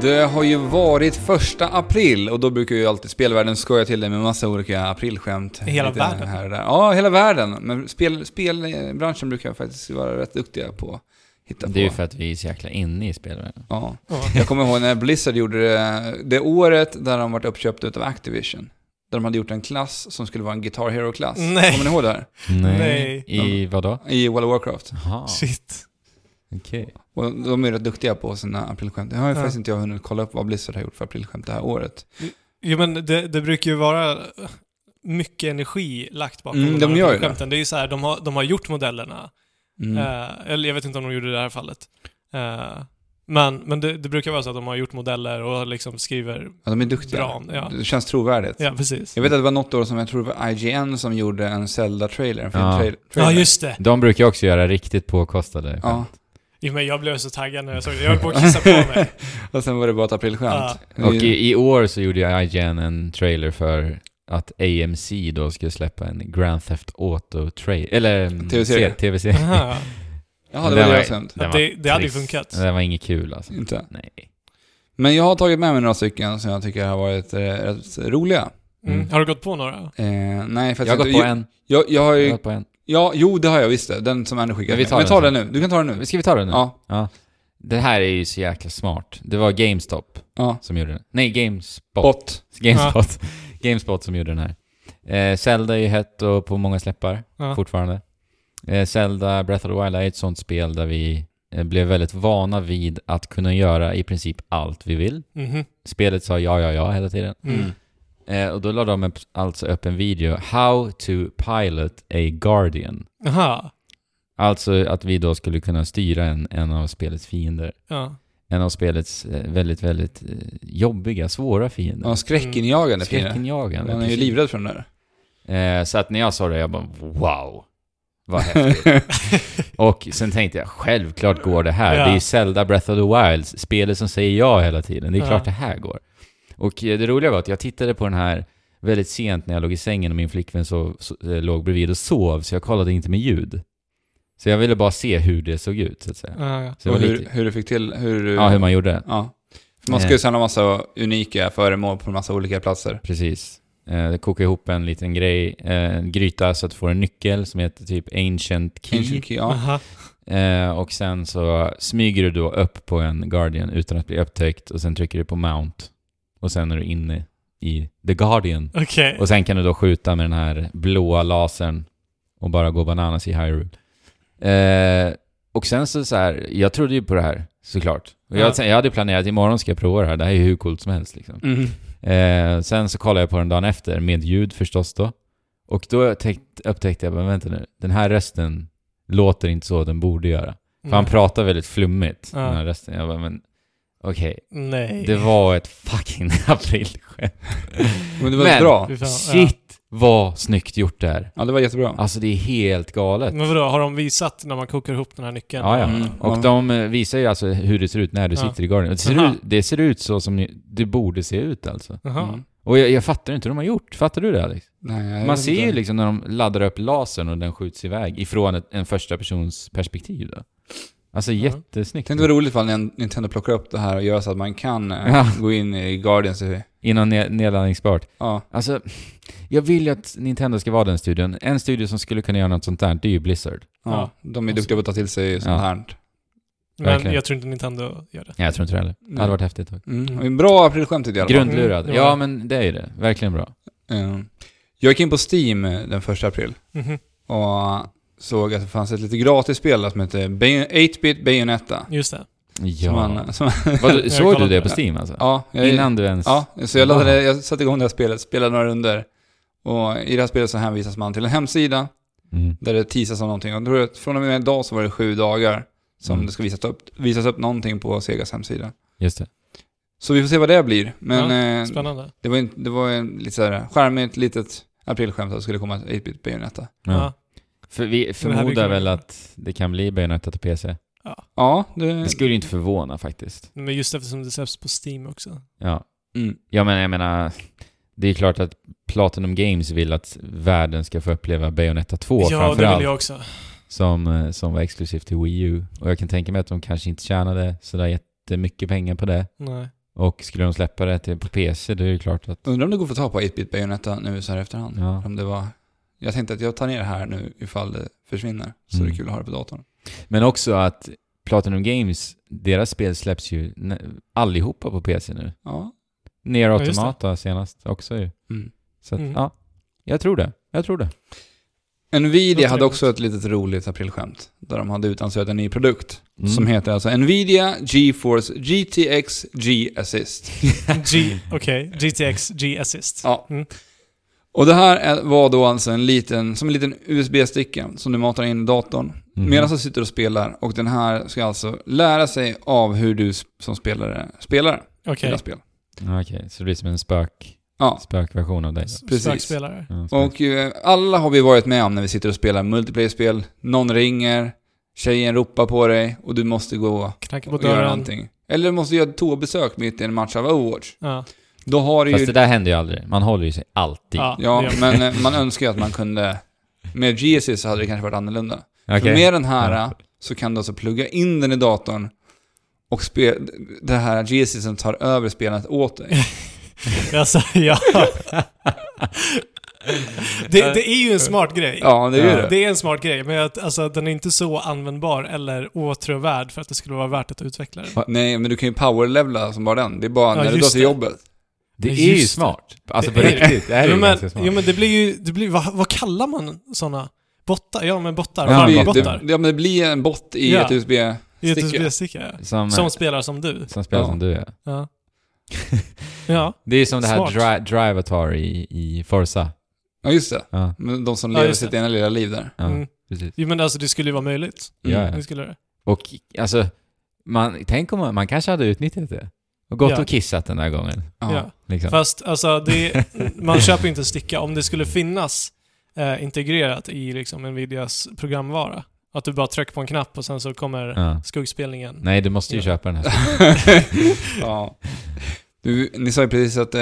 Det har ju varit första april och då brukar ju alltid spelvärlden skoja till dig med massa olika aprilskämt.
Hela
Lite
världen?
Här och där. Ja, hela världen. Men spel, spelbranschen brukar faktiskt vara rätt duktiga på att hitta
Det är ju
på.
för att vi är så jäkla inne i spelvärlden.
Ja.
Ja.
Jag kommer ihåg när Blizzard gjorde det, det året där de varit uppköpta utav Activision. Där de hade gjort en klass som skulle vara en Guitar Hero-klass.
Nej.
Kommer ni ihåg det här?
Nej.
I vadå?
I World of Warcraft.
Jaha,
Shit.
okej.
Och de är ju rätt duktiga på sina aprilskämt. Det har ju
Ja.
faktiskt inte jag hunnit kolla upp vad Blizzard har gjort för aprilskämt det här året.
Jo men det, det brukar ju vara mycket energi lagt bakom
Mm,
de,
de
här
gör ju det.
skämten. Det är ju så här, de har, de har gjort modellerna.
Mm.
Eh, eller jag vet inte om de gjorde det i det här fallet. Eh, men men det, det brukar vara så att de har gjort modeller och liksom skriver
Ja, de är duktiga.
bra om det. Ja.
Det känns trovärdigt.
ja, precis.
Jag vet att det var något år som jag tror det var IGN som gjorde en Zelda-trailer, en
Ja.
filmtrailer.
Ja, just det.
De brukar ju också göra riktigt påkostade skämt.
Ja.
Jo, men jag blev så taggad när jag såg det. Jag höll på att kissa på mig.
Och sen var det bara ett aprilskämt. Det är
Och
ju-
i, i år så gjorde jag IGN en trailer för att AMC då skulle släppa en Grand Theft Auto-trailer, eller mm,
TV-serie.
se- tv-serie.
Aha.
Jaha, det
Den
var
var-
deras skämt.
Den var
Det, det hade ju
trist.
funkat. Mm.
Det var inget kul alltså.
Inte.
Nej.
Men jag har tagit med mig några stycken som jag tycker har varit eh, rätt roliga.
Mm.
Mm.
Har du gått på några?
Eh, nej,
Jag har
faktiskt
gått
inte.
på en.
Jag, jag har
Jag har
ju,
gått på en.
ja, jo det har jag visst det. Den som Andy skickade.
Men vi tar
Men ta den
den
nu. Du kan ta den nu.
Ska vi ta den nu?
Ja.
Det här är ju så jäkla smart. Det var GameStop
ja.
som gjorde den. Nej, GameSpot.
Bot.
GameSpot. GameSpot som gjorde den här. Eh, Zelda är ju hett och på många släppar
Ja.
fortfarande. Eh, Zelda Breath of the Wild är ett sånt spel där vi eh, blev väldigt vana vid att kunna göra i princip allt vi vill.
Mhm.
Spelet sa ja, ja, ja hela tiden.
Mm.
Eh, och då la de upp, alltså upp en video, How to pilot a Guardian.
Aha.
Alltså att vi då skulle kunna styra en, en av spelets fiender.
Ja.
En av spelets eh, väldigt, väldigt eh, jobbiga, svåra fiender.
Ja, skräckinjagande Skräckin
Skräckinjagande.
Man är ju
precis.
livrädd för den där.
Eh, så att när jag sa det, jag bara wow. Vad häftigt. och sen tänkte jag, självklart går det här.
Ja.
Det är ju Zelda Breath of the Wilds, spelet som säger ja hela tiden. Det är
Ja.
klart det här går. Och eh, det roliga var att jag tittade på den här väldigt sent när jag låg i sängen och min flickvän sov, so, eh, låg bredvid och sov, så jag kollade inte med ljud. Så jag ville bara se hur det såg ut, så att säga.
Ah, Ja, ja.
Så det
och
var
hur,
lite,
hur du fick till, hur du...
ja, hur man gjorde. Eh.
ja. Man ska ju samla massa unika föremål på en massa olika platser.
Precis. Eh, koka ihop en liten grej, eh, en gryta så att du får en nyckel som heter typ Ancient Key.
Ancient Key, ja.
Aha.
Eh, och sen så smyger du då upp på en Guardian utan att bli upptäckt och sen trycker du på Mount. Och sen är du inne i The Guardian.
Okej.
Och sen kan du då skjuta med den här blåa lasern och bara gå bananas i Hyrule. Eh, och sen så, så här, jag trodde ju på det här såklart. Och jag,
Ja.
jag hade planerat imorgon ska jag prova det här, det här är ju hur coolt som helst liksom.
Mm.
Eh, sen så kollade jag på den dagen efter, med ljud förstås då. Och då upptäck- upptäckte jag, men vänta nu, den här rösten låter inte så den borde göra. För han pratar väldigt flummigt,
Ja.
den här rösten. Jag bara, men okej,
Nej.
det var ett fucking aprilskämt.
Men det var
Men-
bra.
Fy fan,
Shit vad snyggt gjort det här.
Ja, det var jättebra.
Alltså det är helt
Ja.
galet.
Men vadå, har de visat när man kokar ihop den här nyckeln?
Ja, ja.
Mm.
Och de eh, visar ju alltså hur det ser ut när du
Ja.
sitter i garden. Det ser,
Aha.
ut, det ser ut så som ni- det borde se ut alltså.
Jaha.
Mm.
Och jag, jag fattar inte hur de har gjort. Fattar du det Alex?
Nej, jag
Man
vet
ser ju
inte.
liksom när de laddar upp lasern och den skjuts iväg ifrån ett, en första persons perspektiv då. Alltså jättesnyggt.
Tänk det var roligt ifall Nin- Nintendo plockar upp det här och gör så att man kan eh,
Ja.
gå in i Guardians. eh,
Innan ne- nedladdningsbart.
Ja.
Alltså, jag vill ju att Nintendo ska vara den studion. En studio som skulle kunna göra något sånt där, det är ju Blizzard.
Ja, de är duktiga på att ta till sig sånt
Ja.
här.
Men
Verkligen.
jag tror inte Nintendo gör det.
Nej, jag tror inte det heller. Det
Nej.
hade varit häftigt. dock.
Mm. Och en Bra aprilskämt tyckte jag i alla fall.
Grundlurad.
Mm, det var
Ja,
det.
men det är ju det. Verkligen bra.
Eh, Jag gick in på Steam eh, den första april
Mhm.
och såg att det fanns ett lite gratisspel som hette Bay- 8-bit Bayonetta.
Just det.
Som
Ja.
man, som,
Vadå, såg du
kollat
det
på
på Steam alltså?
ja, jag,
Innan du ens...
ja, så jag, laddade, jag satte igång det här spelet, spelade några runder och i det här spelet så hänvisas man till en hemsida
Mm.
där det teasas om någonting. Och då, är det- från och med idag så var det sju dagar som
Mm.
det ska visas upp, visas upp någonting på Segas hemsida.
Just det.
Så vi får se vad det blir. Men eh,
Spännande.
det var, en, det var en lite så här charmigt litet aprilskämt att det skulle komma ett 8-bit Bayonetta.
Ja.
Ja.
För vi
blir
förmodar
kul.
väl att det kan bli Bayonetta till PC.
Ja, det...
Det skulle ju inte förvåna faktiskt.
Men just eftersom det släpps på Steam också.
Ja.
Mm.
ja, men jag menar... Det är klart att Platinum Games vill att världen ska få uppleva Bayonetta 2
ja, det
framförallt.
vill jag också.
Som, eh, som var exklusivt till Wii U. Och jag kan tänka mig att de kanske inte tjänade sådär jättemycket pengar på det.
Nej.
Och skulle de släppa det till, på PC, då är det klart att...
Undrar om det går att få tag på 8-bit Bayonetta nu så här efterhand.
Ja.
Om det var... Jag tänkte att jag tar ner det här nu ifall det försvinner. Så
Mm.
det är kul att ha det på datorn.
Men också att Platinum Games, deras spel släpps ju nä- allihopa på PC nu.
Ja.
Ner
Ja, just det.
Automata senast också ju.
Mm.
Så att,
Mm.
ja. Jag tror det. Jag tror det.
Nvidia
Låter
hade
det
också
gott.
ett litet roligt aprilskämt. Där de hade utannonserat en ny produkt.
Mm.
Som heter alltså Nvidia GeForce GTX G Assist.
G, okej. GTX G-Assist.
Ja.
Mm.
Och det här är- var då alltså en liten, som en liten USB-sticka som du matar in i datorn.
Mhm.
Medan du sitter och spelar. Och den här ska alltså lära sig av hur du s- som spelare spelar
Okej.
dina spel.
Ja, Okej, så det blir som en spök,
Ja,
spökversion av dig. då.
precis.
Spökspelare.
Ja, spök.
och eh, alla har vi varit med om när vi sitter och spelar multiplayer-spel. Någon ringer, tjejen ropar på dig och du måste gå
Knackar på
och göra
dörren.
någonting. Eller du måste göra ett toabesök mitt i en match av Overwatch.
Ja.
Då har du ju...
Fast det där händer ju aldrig. Man håller ju sig alltid.
Ja, det
Ja,
gör
men eh, man önskar ju att man kunde... Med GSS så hade det kanske varit annorlunda. För
Okej.
med den här
Ja.
eh, så kan du alltså plugga in den i datorn och spe, det här GSSen tar över spelandet åt dig.
man. alltså, ja. det, det är ju en smart grej.
Ja, det är ju
Ja.
det.
Det är en smart grej, men att, alltså, den är inte så användbar eller åtråvärd för att det skulle vara värt att utveckla den.
Nej, men du kan ju powerlevla som bara den. Det är bara
Ja,
när du går
just
till
det.
jobbet.
Det
Men
är ju
just det.
smart. Alltså
Det
på
är-
riktigt, det här är
Jo
ju
men,
ganska smart.
jo, men det blir ju... Det blir, vad, vad kallar man sådana? Bottar? Ja, men bottar.
Ja,
det,
Ja,
blir-
bottar.
det, ja, men det blir en bot i
Ja.
ett USB.
I ett
sticker.
USB-sticka, ja.
som,
Som
som,
spelar som du.
som spelar
Ja.
som du är.
Ja. Ja,
Det är ju som det här
Smart.
dri Drivatar i, i Forza.
Ja, just det.
Ja,
Men de som
Ja,
lever
just
sitt
det.
ena lilla liv där.
ja
Mm.
precis.
Jo, men alltså det skulle ju vara möjligt. Mm,
Ja, ja.
Det skulle det.
Och alltså, man, tänk om man, man kanske hade utnyttjat det. Och gått
Ja.
och kissat den där gången.
Ja.
Ja.
Liksom.
Fast alltså, det, man köper ju inte en sticka. Om det skulle finnas eh, integrerat i liksom Nvidias programvara, att du bara trycker på en knapp och sen så kommer
Ja.
skuggspelningen.
Nej, du måste ju
Ja.
köpa den här.
Alltså. ja. Du, ni sa ju precis att eh,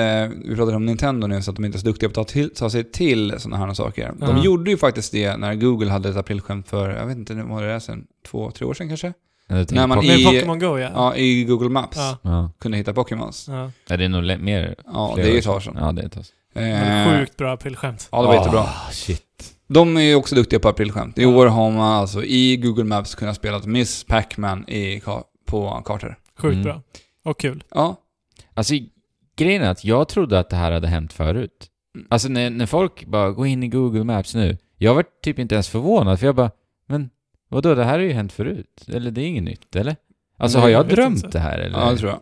vi pratade om Nintendo nu, så att de inte är så duktiga på att ta, till, ta sig till sådana här saker. De
Ja.
gjorde ju faktiskt det när Google hade ett aprilskämt för, jag vet inte, nu var det är sen två, tre år sedan kanske?
Jag tänker
När man
på-
Med
i-
Pokémon Go, ja.
Ja, i Google Maps
Ja.
Ja.
kunde hitta Pokémons.
ja.
Nej, det är nog le- mer...
Ja,
Flera
det är
år
ju ett tag sedan.
Ja, det är ett tag sedan.
Men
Eh,
Sjukt bra aprilskämt.
Ja, det var
Ah,
jättebra.
Shit.
De är ju också duktiga på aprilskämt. I år har man alltså i Google Maps kunnat spela Miss Pac-Man i, ka- på kartor.
Sjukt
Mm.
bra. Och kul.
Ja,
Alltså grejen är att jag trodde att det här hade hänt förut.
Mm.
Alltså när, när folk bara går in i Google Maps nu. Jag var typ inte ens förvånad för jag bara, men vadå det här har ju hänt förut? Eller det är inget nytt eller? Alltså
Nej,
har
jag
jag
vet
drömt
inte.
det här eller?
ja det tror jag.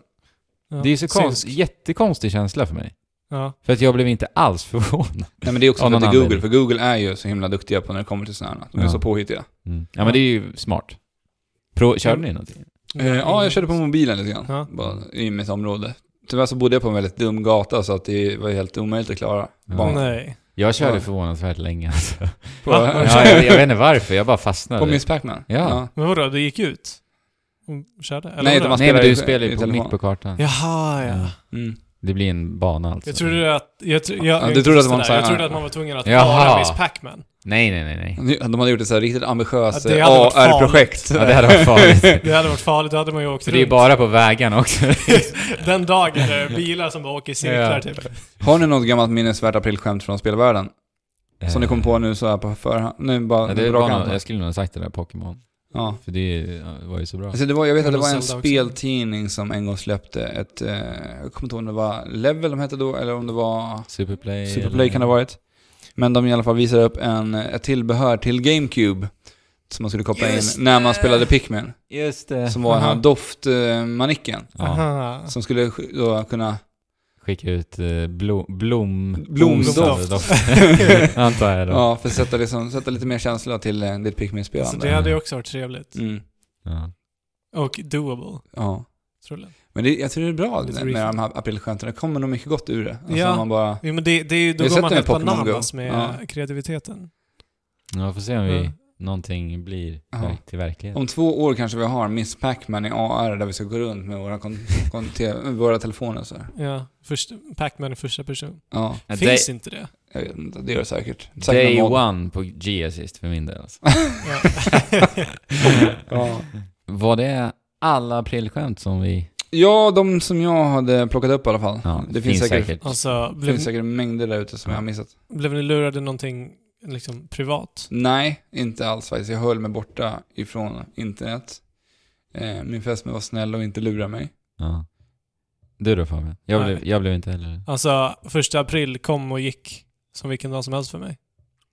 Ja.
Det är så konst,
Synsk.
jättekonstig känsla för mig.
Ja.
För att jag blev inte alls förvånad.
Nej men det är också
Av
för att det
någon
är Google,
anledning.
för Google är ju så himla duktiga på när det kommer till sådana här. De är
Ja.
så påhittiga.
Ja men det är ju smart. Pro, körde ni någonting?
Eh, ja, jag körde på mobilen lite grann.
Mm. Ja.
Bara I mitt område. Tyvärr så bodde jag på en väldigt dum gata så att det var helt omöjligt att klara.
Ja.
Barn.
Nej.
Jag körde
Ja.
förvånansvärt länge alltså.
På,
Va?
ja, jag, jag vet inte varför, jag bara fastnade.
på Miss Pac-Man.
Ja.
Men vadå, det gick ut? Och körde? Eller
Nej,
vadå?
de har-
Nej men
spelar
du
ju
spelar
i
ju på,
telefon.
mitt på kartan.
Jaha, ja.
Ja.
Mm.
Det blir en bana alltså.
Jag trodde att... Jag, tr- jag, jag,
du trodde att det var en
jag,
sån här-
trodde att man var tvungen att
Jaha.
vara Miss Pac-Man.
Nej, nej, nej, nej.
De hade gjort ett så här riktigt ambitiöst eh,
Ja, det hade varit farligt.
AR-projekt.
Ja, det hade varit farligt.
Det hade varit farligt, då hade man ju åkt
För det är ju
runt.
bara på vägarna också.
Den dagen där det är bilar som bara åker i cirklar
Ja.
typ.
Har ni något gammalt minnesvärt aprilskämt från spelvärlden? Som ni kom på nu så här på förhand? Nu bara
Eh. Ja, det
på
var
rak
någon,
arm.
jag skulle nog ha sagt det där Pokémon.
Ja.
För det ja, det var ju så bra.
Alltså det var, jag vet att det
Men
var en
Zelda också.
speltidning som en gång släppte ett, eh, jag kommer inte ihåg om det var Level de hette då, eller om det var
Superplay.
Superplay kan det ha varit. Men de i alla fall visade upp en, ett tillbehör till GameCube. Som man skulle koppla
Just
in när man
det.
spelade Pikmin.
Just det.
Som var den här
Aha.
doftmanicken.
Ja,
Aha.
Som skulle sk- då kunna...
skicka ut eh, blom, blom,
Blomdoft.
blomdoft. Antar jag då. Ja.
Ja, för att sätta, liksom, sätta lite mer känsla till eh, ditt Pikmin-spelande.
Så det hade ju också varit trevligt.
Mm,
Och doable,
ja.
tror jag.
Men det, jag tror det är bra
Lite
med,
reason.
med de här aprilskämten. Det kommer nog mycket gott ur det. Alltså
Ja.
om man bara...
Jo, men det, det är ju, då
Jag
går
sätter
man
mig
helt
i Pokémon
bananas
Go.
med
Ja.
kreativiteten.
ja, får se om vi,
Mm.
någonting blir
Ja.
verk- till verklighet.
Om två år kanske vi har Miss Pac-Man i AR där vi ska gå runt med våra, kon- kon- te- våra telefoner så här.
Ja, först, Pac-Man i första person.
Ja,
Ja,
Finns
day
inte det?
jag vet inte. Det gör det säkert. Säkert
day
någon mod.
one på G-assist för min del alltså.
Ja.
Ja.
Var det alla aprilskämt som vi...
ja, de som jag hade plockat upp i alla fall.
Ja,
det finns, säkert,
alltså,
Det
blev,
finns säkert mängder där ute som jag har missat.
blev ni lurade någonting liksom privat?
Nej, inte alls faktiskt. Jag höll mig borta ifrån internet. Eh, Min fästmö var snäll och inte lura mig.
Ja. Du då Fabian? Jag
Nej.
blev, jag blev inte heller...
Alltså, första april kom och gick som vilken dag som helst för mig.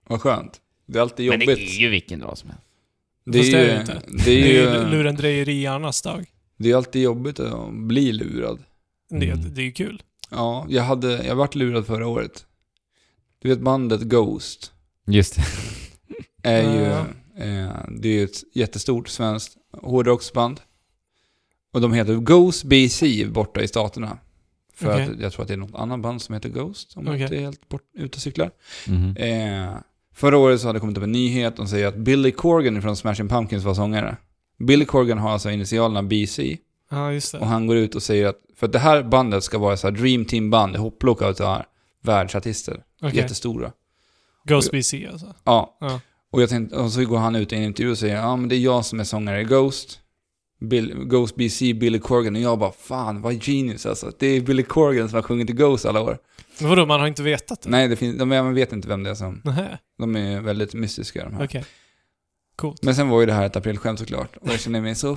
Vad skönt. Det är alltid jobbigt.
ju vilken dag som helst.
det
Fast det är det
är ju...
inte.
Det
Det
är
är ju
ju
lurendrejeriernas dag.
det är alltid jobbigt att bli lurad.
Det,
Mm.
det är ju kul.
Ja, jag hade, jag vart lurad förra året. Du vet bandet Ghost
Just det.
är ju,
Ja.
eh, det är ju ett jättestort svenskt hårdrocksband. Och de heter Ghost BC borta i staterna. För
Okej.
att jag tror att det är något annat band som heter Ghost, om jag
Okej.
inte är helt bort, ute och cyklar.
Mhm.
Eh, förra året så hade det kommit upp en nyhet och säger att Billy Corgan från Smashing Pumpkins var sångare. Billy Corgan har alltså initialerna BC.
Ja, just det.
Och han går ut och säger att, för att det här bandet ska vara så här Dream Team-band, hopplock av så här världsartister.
Okej.
Jättestora.
Ghost BC alltså.
Ja.
Ja.
Och, jag tänkte, och så går han ut i en intervju och säger ja men det är jag som är sångare i Ghost. Bill, Ghost BC, Billy Corgan. Och jag bara fan vad genius alltså. Det är Billy Corgan som har sjungit i Ghost alla år.
Men vadå, man har inte vetat det?
Nej, det finns, de, man vet inte vem det är som...
Nähä,
De är väldigt mystiska de här.
okej. Coolt.
Men sen var ju det här ett aprilskämt såklart. Och jag känner mig så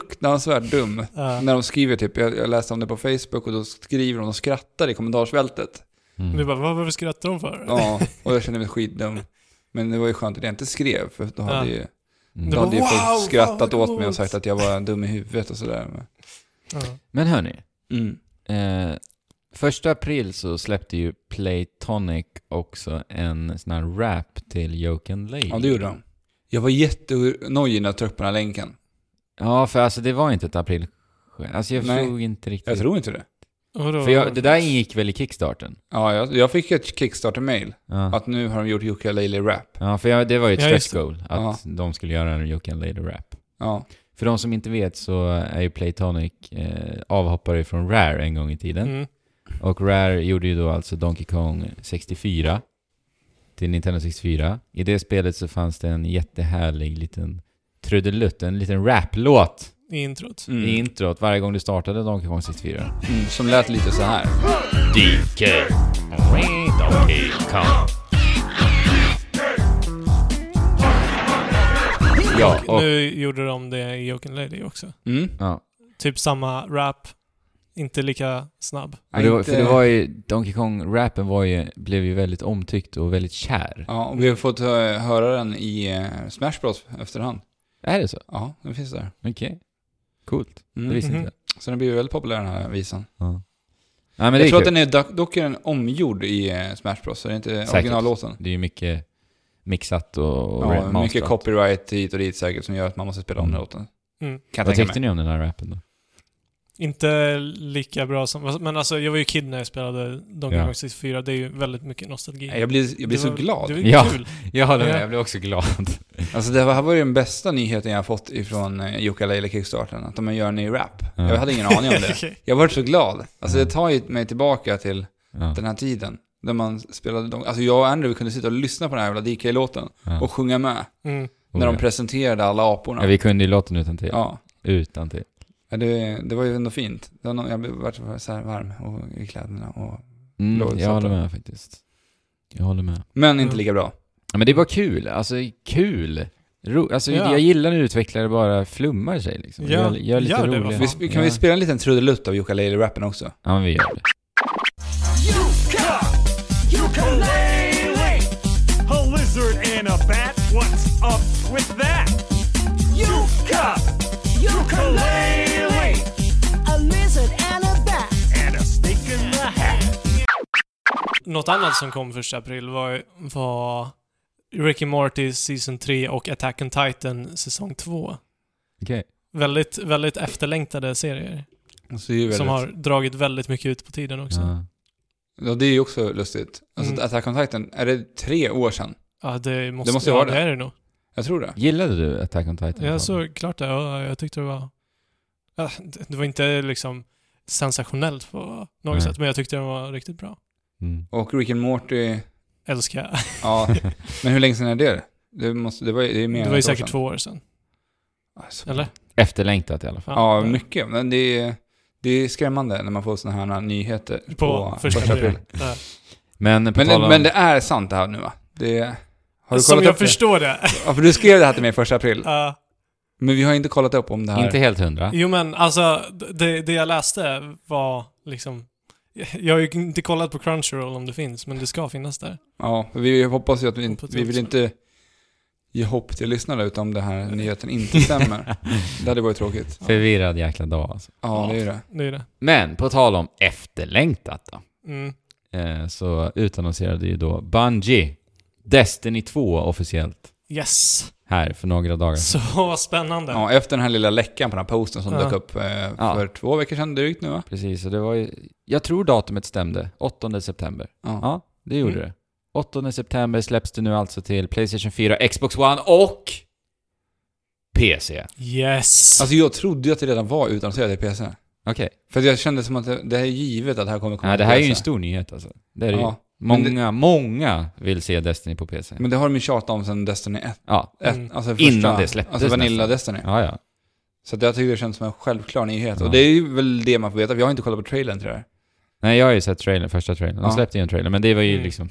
fruktansvärt dum.
Ja.
När de skriver typ, jag, jag läste om det på Facebook och då skriver de och skrattar i kommentarsfältet.
Mm.
Du bara, vad varför skrattar de för?
Ja, och jag kände mig skitdum. Men det var ju skönt att jag inte skrev, för då hade
Ja.
ju,
Mm.
Det
då
var
hade ju folk
wow, fan
skrattat
vad
åt mig och
coolt.
sagt att jag var dum i huvudet och sådär.
Ja.
Men hörni,
Men, mm.
eh, första april så släppte ju Playtonic också en sån här rap till Joke and Lay.
Ja, det gjorde de. Jag var jättenojig när jag tryckte på den här länken.
Ja, för alltså det var inte ett april... Alltså jag
Nej.
förstod inte riktigt.
Jag tror inte det.
Vadå?
För jag, det där ingick väl i kickstarten?
Ja, jag, jag fick ett Kickstarter-mail
Ja.
att nu har de gjort Ukulele Rap.
Ja, för jag, det var ju ett
Ja,
stretch
just det.
goal, att
Ja.
de skulle göra en Joke and Lay rap.
Ja,
För de som inte vet så är ju Playtonic eh, avhoppare från Rare en gång i tiden.
Mm.
Och Rare gjorde ju då alltså Donkey Kong 64 till Nintendo 64. I det spelet så fanns det en jättehärlig liten trudelutt, en liten raplåt
I introt.
mm.
i introt varje gång du startade Donkey Kong 64.
Mm, som lät lite så här.
DK. Donkey Kong. Ja, och...
Nu gjorde de det i Joken Lady också.
Mm.
Ja.
Typ samma rap, inte lika snabb.
Och det var, för det var ju, Donkey Kong-rappen var ju, blev ju väldigt omtyckt och väldigt kär.
Ja, och vi har fått eh, höra den i eh, Smash Bros efterhand.
Är det så?
Ja, den finns där.
Okej. Coolt. Det
Mm.
visste
Mhm.
inte
Så den blir ju väldigt populär den här visan.
jag. Ja. Nej, men det
jag
är
tror att
kul.
den är, dock- dock är den omgjord i eh, Smash Bros, så det är inte
Säkert.
originallåten.
Det är ju mycket mixat och, och
Ja, mycket
remasterat.
copyright hit och dit säkert som gör att man måste spela om
Mm.
den låten.
Mm.
Kan
Vad
jag
tyckte
tänka mig.
ni om den här rappen då?
Inte lika bra som... Men alltså, jag var ju kid när jag spelade Donkey
Ja.
Kong 64. Det är ju väldigt mycket nostalgi.
Nej, Jag blir, jag blir
Det
så
var-
glad.
Det var ju
Ja.
kul.
Jag håller
med,
med,
Ja.
jag
jag
blev också glad.
Alltså det här var ju den bästa nyheten jag har fått ifrån eh, Jokkalaila Kickstarten, att de gör en ny rap.
Ja.
Jag hade ingen aning om det.
Okej.
Jag varit så glad. Alltså
Ja.
det tar ju mig tillbaka till
Ja.
den här tiden. Där man spelade, de- alltså jag och Andrew vi kunde sitta och lyssna på den här jävla DK-låten
Ja. Oh,
och sjunga med.
Mm.
När de presenterade alla aporna.
ja, vi kunde ju låten utan till.
Ja.
Utan till.
Ja, det, det var ju ändå fint. Det var nå- Jag blev vart så här varm och, i kläderna och...
Mm,
Låt
jag håller
sätta.
med faktiskt. Jag håller med.
Men
Mm.
inte
Ja.
lika bra.
Ja, men det är bara kul. Alltså, kul. Ro, alltså,
Ja.
Jag gillar när utvecklare bara flummar sig liksom.
Ja,
Gör, gör lite
gör det, vad
roliga...
fan.
Vi,
Ja.
sp- kan vi spela en liten trudelutt av Ukulele-rappen också?
Ja, men vi gör det.
Ukulele! A lizard and a bat, what's up with that? Yuka! Ukulele!
a lizard and a bat.
And a snake in the hat.
Något annat som kom första april var, var Ricky Morty säsong 3 och Attack on Titan säsong 2.
Okej.
Väldigt, väldigt efterlängtade serier.
Alltså, det, är ju
Som
väldigt-
har dragit väldigt mycket ut på tiden också. Ja,
Ja.
ja, det är ju också lustigt. Alltså
Mm.
Attack on Titan, är det tre år sedan?
det måste,
Det måste
ja,
vara
det.
det.
är det nog.
Jag tror det.
Gillade du Attack on Titan? Fabian?
Jag såg klart det ja, jag tyckte det var... Ja, det- Det var inte liksom sensationellt på något
Nej.
sätt, men jag tyckte den var riktigt bra.
Mm.
Och Rick and Morty,
Älskar jag.
ja. men hur länge sedan är det? Det, måste, det var ju det är mer
Det
än
var ju
ett år
säkert
sedan.
två år sedan.
Alltså,
Eller?
Efterlängtat i alla fall.
Ja, mycket. Men det är, det är skrämmande när man får sådana här nyheter på, första april.
Ja.
Men på
Men,
tal om...
men det är sant det här nu va? Det, har du
Som
kollat
jag
upp
förstår det.
det? Ja, för du skrev det här till mig första april.
Ja.
Men vi har inte kollat upp om det här.
Inte helt hundra.
jo men alltså, det, det jag läste var liksom... Jag har ju inte kollat på Crunchyroll om det finns, men det ska finnas där.
Ja, för vi hoppas ju att vi, inte-
Hoppas
vi vill
också.
inte ge hopp till lyssnarna utan om den här nyheten inte stämmer. det hade varit tråkigt.
Förvirrad jäkla dag alltså.
Ja, det är det.
Det är det.
Men på tal om efterlängtat då.
Mm.
Eh, så utannonserade ju då Bungie Destiny 2 officiellt
Yes!
här för några dagar sedan.
Så spännande.
Ja, efter den här lilla läckan på den här posten som
Ja.
dök upp eh, för två veckor sedan drygt nu va?
Precis, och det var ju... Jag tror datumet stämde. 8 september.
Ja.
Ja, det gjorde
Mm.
det. 8 september släpps det nu alltså till Playstation 4, Xbox One och PC.
Yes!
Alltså jag trodde ju att det redan var utannonserat i PC.
Okej.
För att jag kände som att det, det här är givet att det här kommer komma
Nej, det
till
här är ju
PC.
en stor nyhet alltså. Det är det ju.
Ja, men det-
Många, många vill se Destiny på PC.
Men det har de ju tjatat om sedan Destiny 1.
Ja.
ett
Mm.
Alltså första,
Innan det släpptes
Alltså Vanilla
nästan.
Destiny.
Ja, ja.
Så att jag tycker det känns som en självklar nyhet.
Ja.
Och det är ju väl det man får veta. Vi har inte kollat på trailern till det här.
Nej, jag har ju sett trailern, första trailern. De
Ja.
släppte ju en trailer, men det var ju
Mm.
liksom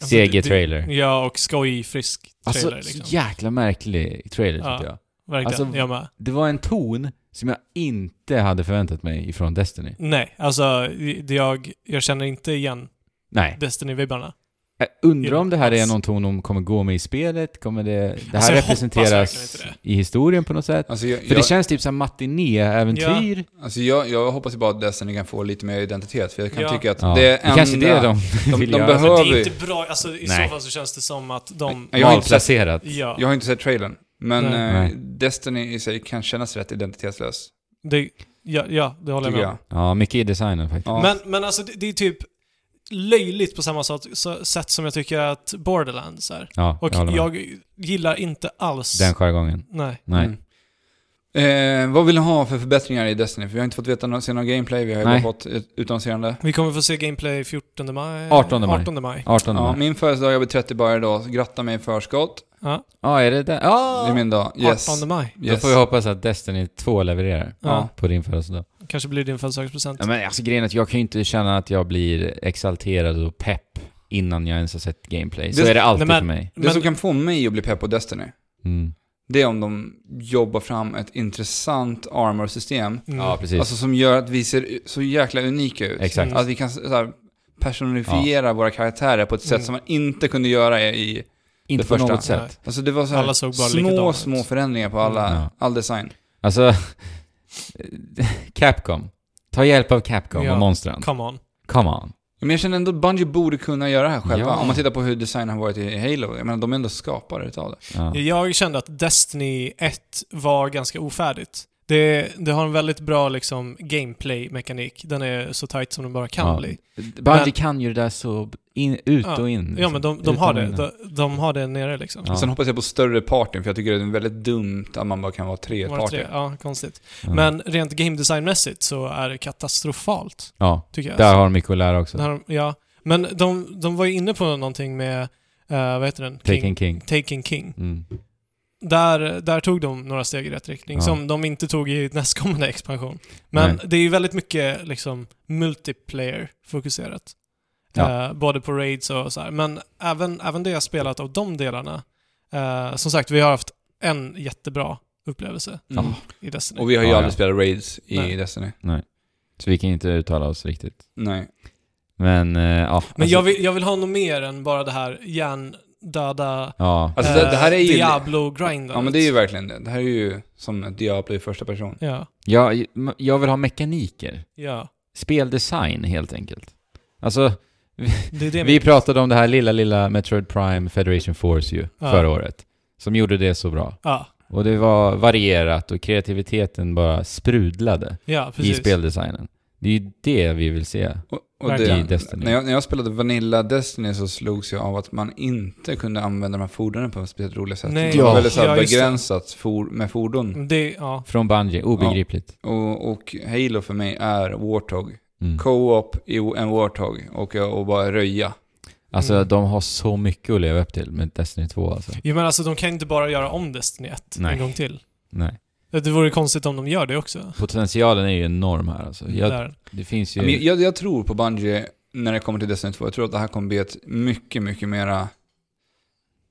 Alltså, det- det-
CG-trailer.
Ja, och skoj, frisk trailer
Alltså,
liksom.
så jäkla märklig trailer
Ja.
tyckte jag.
Verkligen.
alltså-
jag med.
Det var en ton som jag inte hade förväntat mig ifrån Destiny.
Nej, alltså det- jag, jag känner inte igen
Nej.
Destiny-vibbarna.
Jag undrar om det här är
Yes.
någon ton de kommer gå med i spelet? Kommer det... Det
Alltså,
här
jag hoppas
representeras
verkligen inte
i historien på något sätt?
Alltså jag,
För det
jag,
känns typ som matiné-äventyr.
alltså jag, jag hoppas ju bara att Destiny kan få lite mer identitet. För jag kan
Ja.
tycka att
Ja.
det är
Det kanske är det de
de
vill göra.
behöver-
Det
Har
är
vi?
inte bra, alltså i
Nej.
så fall så känns det som att de...
Nej, jag har inte sett-
Malplacerat.
Ja,
Jag har inte sett trailern. Men
Nej.
eh,
Nej.
Destiny i sig kan kännas rätt identitetslös.
det, ja, ja, det håller jag
Tycker
med
jag.
om.
Ja, mycket i designen faktiskt.
Ja.
Men, men alltså det, det är typ löjligt på samma sätt, så, sätt som jag tycker att Borderlands är.
Ja,
Och
jag håller
jag,
med.
gillar inte alls...
Den jargongen.
Nej.
Nej.
Mm. Eh, vad vill ni ha för förbättringar i Destiny? För vi har inte fått veta någon, se någon gameplay, vi har ju bara
Nej.
fått ett utannonserande.
Vi kommer få se gameplay 14 maj.
18 maj.
18 maj.
18
Ja,
maj.
min födelsedag, jag blir 30 bara idag. så Gratta mig i förskott.
Ja,
Ja, är det där? Ja!
Det är min dag. Yes.
18 maj.
Då
yes.
får vi hoppas att Destiny 2 levererar
Ja.
på din födelsedag.
Kanske blir det din födelsedagspresent.
Ja, men alltså grejen är att jag kan ju inte känna att jag blir exalterad och pepp innan jag ens har sett gameplay. Så
Det-
är det alltid
Nej, men-
för mig.
Det
Men-
som kan få mig att bli pepp på Destiny,
Mm.
det är om de jobbar fram ett intressant armor-system.
Mm.
Ja, precis.
Alltså som gör att vi ser u- så jäkla unika ut.
Exakt.
Att vi kan så här, personifiera våra karaktärer på ett sätt
Mm.
som man inte kunde göra i...
inte
det
på
första.
något sätt.
Nej.
Alltså det var så här,
Alla såg bara likadana
små,
ut.
små förändringar på alla,
Mm. Ja.
all design.
Alltså, Capcom. Ta hjälp av Capcom
Ja.
och monstren.
Come on.
Come on.
Men jag känner ändå att Bungie borde kunna göra det här själva.
Ja.
Om man tittar på hur designen har varit i Halo. Jag menar, de är ändå skapare utav det.
Ja.
Jag kände att Destiny 1 var ganska ofärdigt. Det, det har en väldigt bra liksom, gameplay-mekanik. Den är så tight som den bara kan
Ja. mm,
bli.
Bungie
Men-
kan ju det där så in, ut och in.
Ja,
liksom.
men de,
Ut och
de har
in.
det. De, de har det nere liksom.
Ja.
Sen hoppas jag på större partyn, för jag tycker det är väldigt dumt att man bara kan vara tre Mm.
Var det
party.
tre? Ja, konstigt.
Ja.
Men rent game designmässigt så är det katastrofalt,
Ja,
tycker jag.
där har de mycket att lära också.
När de, ja. Men de, de var ju inne på någonting med, eh, vad heter den?
Taken King.
Taken King.
Mm.
Där, där tog de några steg i rätt riktning,
Ja.
som de inte tog i nästkommande expansion. Men
Nej.
det är ju väldigt mycket liksom, multiplayer-fokuserat.
Ja.
Eh, både på raids och så här. Men även, även det jag spelat av de delarna, eh, som sagt, vi har haft en jättebra upplevelse
Mm.
i Destiny.
Och vi har ju
Ja,
aldrig
ja.
spelat Raids i
Nej.
Destiny.
Så vi kan ju inte uttala oss riktigt.
Nej.
Men, eh, ja.
Men
alltså-
jag vill, jag vill ha något mer än bara det här hjärndöda
Ja.
Alltså det, det här är ju...
Diablo-grindandet.
Ja men det är ju verkligen det. Det här är ju som ett Diablo i första person.
Ja,
Jag, jag vill ha mekaniker.
ja.
Speldesign, helt enkelt. Alltså,
Det är det
vi pratade om det här lilla, lilla Metroid Prime Federation Force ju,
Ja.
förra året. Som gjorde det så bra.
Ja,
Och det var varierat och kreativiteten bara sprudlade
ja precis.
i speldesignen. Det är ju det vi vill se.
Och, och
Verkligen.
I
det,
Destiny.
när, jag, när jag spelade Vanilla Destiny så slogs jag av att man inte kunde använda de här fordonen på ett speciellt roligt sätt.
Nej.
Det var
Ja.
väldigt så här
Ja, just det.
begränsat for, med fordon.
Det, ja.
Från Bungie, obegripligt.
Och, och Halo för mig är Warthog.
Mm.
Co-op i en Warthog och, och bara röja.
Alltså
Mm.
de har så mycket att leva upp till med Destiny 2 alltså.
Jo men alltså de kan inte bara göra om Destiny 1
Nej.
en gång till.
Nej.
Det vore konstigt om de gör det också.
Potentialen är ju enorm här alltså. Jag,
Där.
det finns
Men
ju...
jag, jag tror på Bungie när det kommer till Destiny 2. Jag tror att det här kommer bli ett mycket, mycket mera...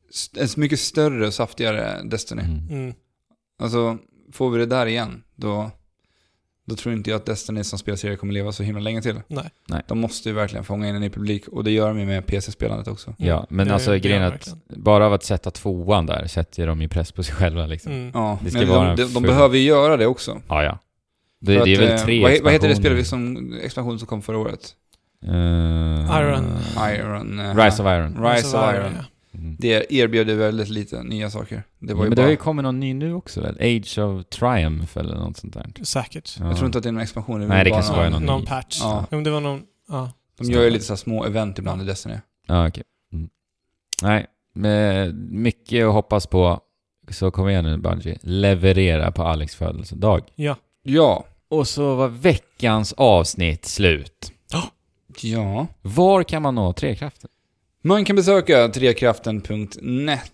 st- Ett mycket större och saftigare Destiny.
Mm.
Mm.
Alltså, får vi det där igen, då, då tror inte jag att Destiny som spelserie kommer leva så himla länge till.
Nej.
Nej.
De måste ju verkligen fånga in en ny publik och det gör de ju med PC-spelandet också.
Ja, men
Mm. Det-
alltså
det
grejen
gör de
att bara av att sätta tvåan där sätter de ju press på sig själva liksom.
Mm.
Ja,
Det ska
men
vara en
de, de,
full-
de behöver ju göra det också.
Ja, ja. Det,
För att,
det är väl
eh,
tre
vad, he- vad heter det
expansioner.
spelet som, expansion som kom förra året?
Eh,
Iron.
Iron... eh,
Rise of Iron.
Rise of Iron.
Ja.
Mm.
Det erbjöd ju väldigt lite nya saker. Det
Det
var
var
ju
men det
bara,
har ju kommit någon ny nu också väl? Age of Triumph eller något sånt där.
Säkert.
Ja.
Jag tror inte att det är någon expansion. är
Nej,
väl
det
bara
kanske var
någon-
någon
någon,
ny.
patch.
Ja.
Ja. men det var någon... Ja.
De gör ju lite så här små event ibland i Destiny.
Ja, okej. Mm. Nej, men eh, mycket att hoppas på. Så kom igen nu Bungie. Leverera på Alex födelsedag.
ja.
Ja.
Och så var veckans avsnitt slut.
Ja.
Var kan man nå Trekraften?
Man kan besöka trekraften.net.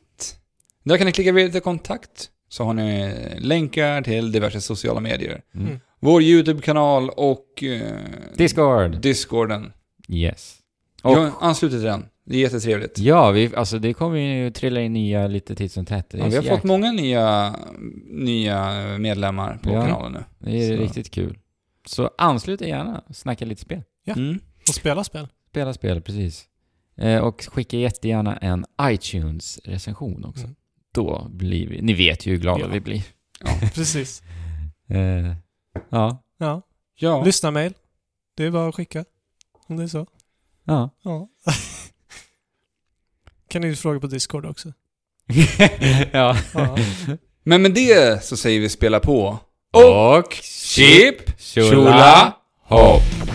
Där kan ni klicka vidare till kontakt, så har ni länkar till diverse sociala medier.
Mm.
Vår YouTube-kanal och eh,
Discord!
Discorden.
Yes. Och,
Jag ansluter till den. Det är jättetrevligt.
ja, vi, alltså det kommer ju trilla in nya lite titt som tätt. Det är,
Ja, vi har
så
fått
jäkla-
många nya, nya medlemmar på
Ja.
kanalen nu.
det är
så.
riktigt kul. Så anslut er gärna. Snacka lite spel.
Ja.
Mm.
Och spela spel.
Spela spel, precis. Eh, och skicka jättegärna en iTunes-recension också.
Mm.
Då blir vi... Ni vet ju hur glada
Ja.
vi blir.
Precis.
Eh, ja.
Ja.
Ja.
Lyssna mail. Det är bara att skicka. Om det är så.
ja.
Ja. kan ni fråga på Discord också.
ja.
Ja.
Men med det så säger vi spela på.
Och...
Chip,
Chula! Hopp!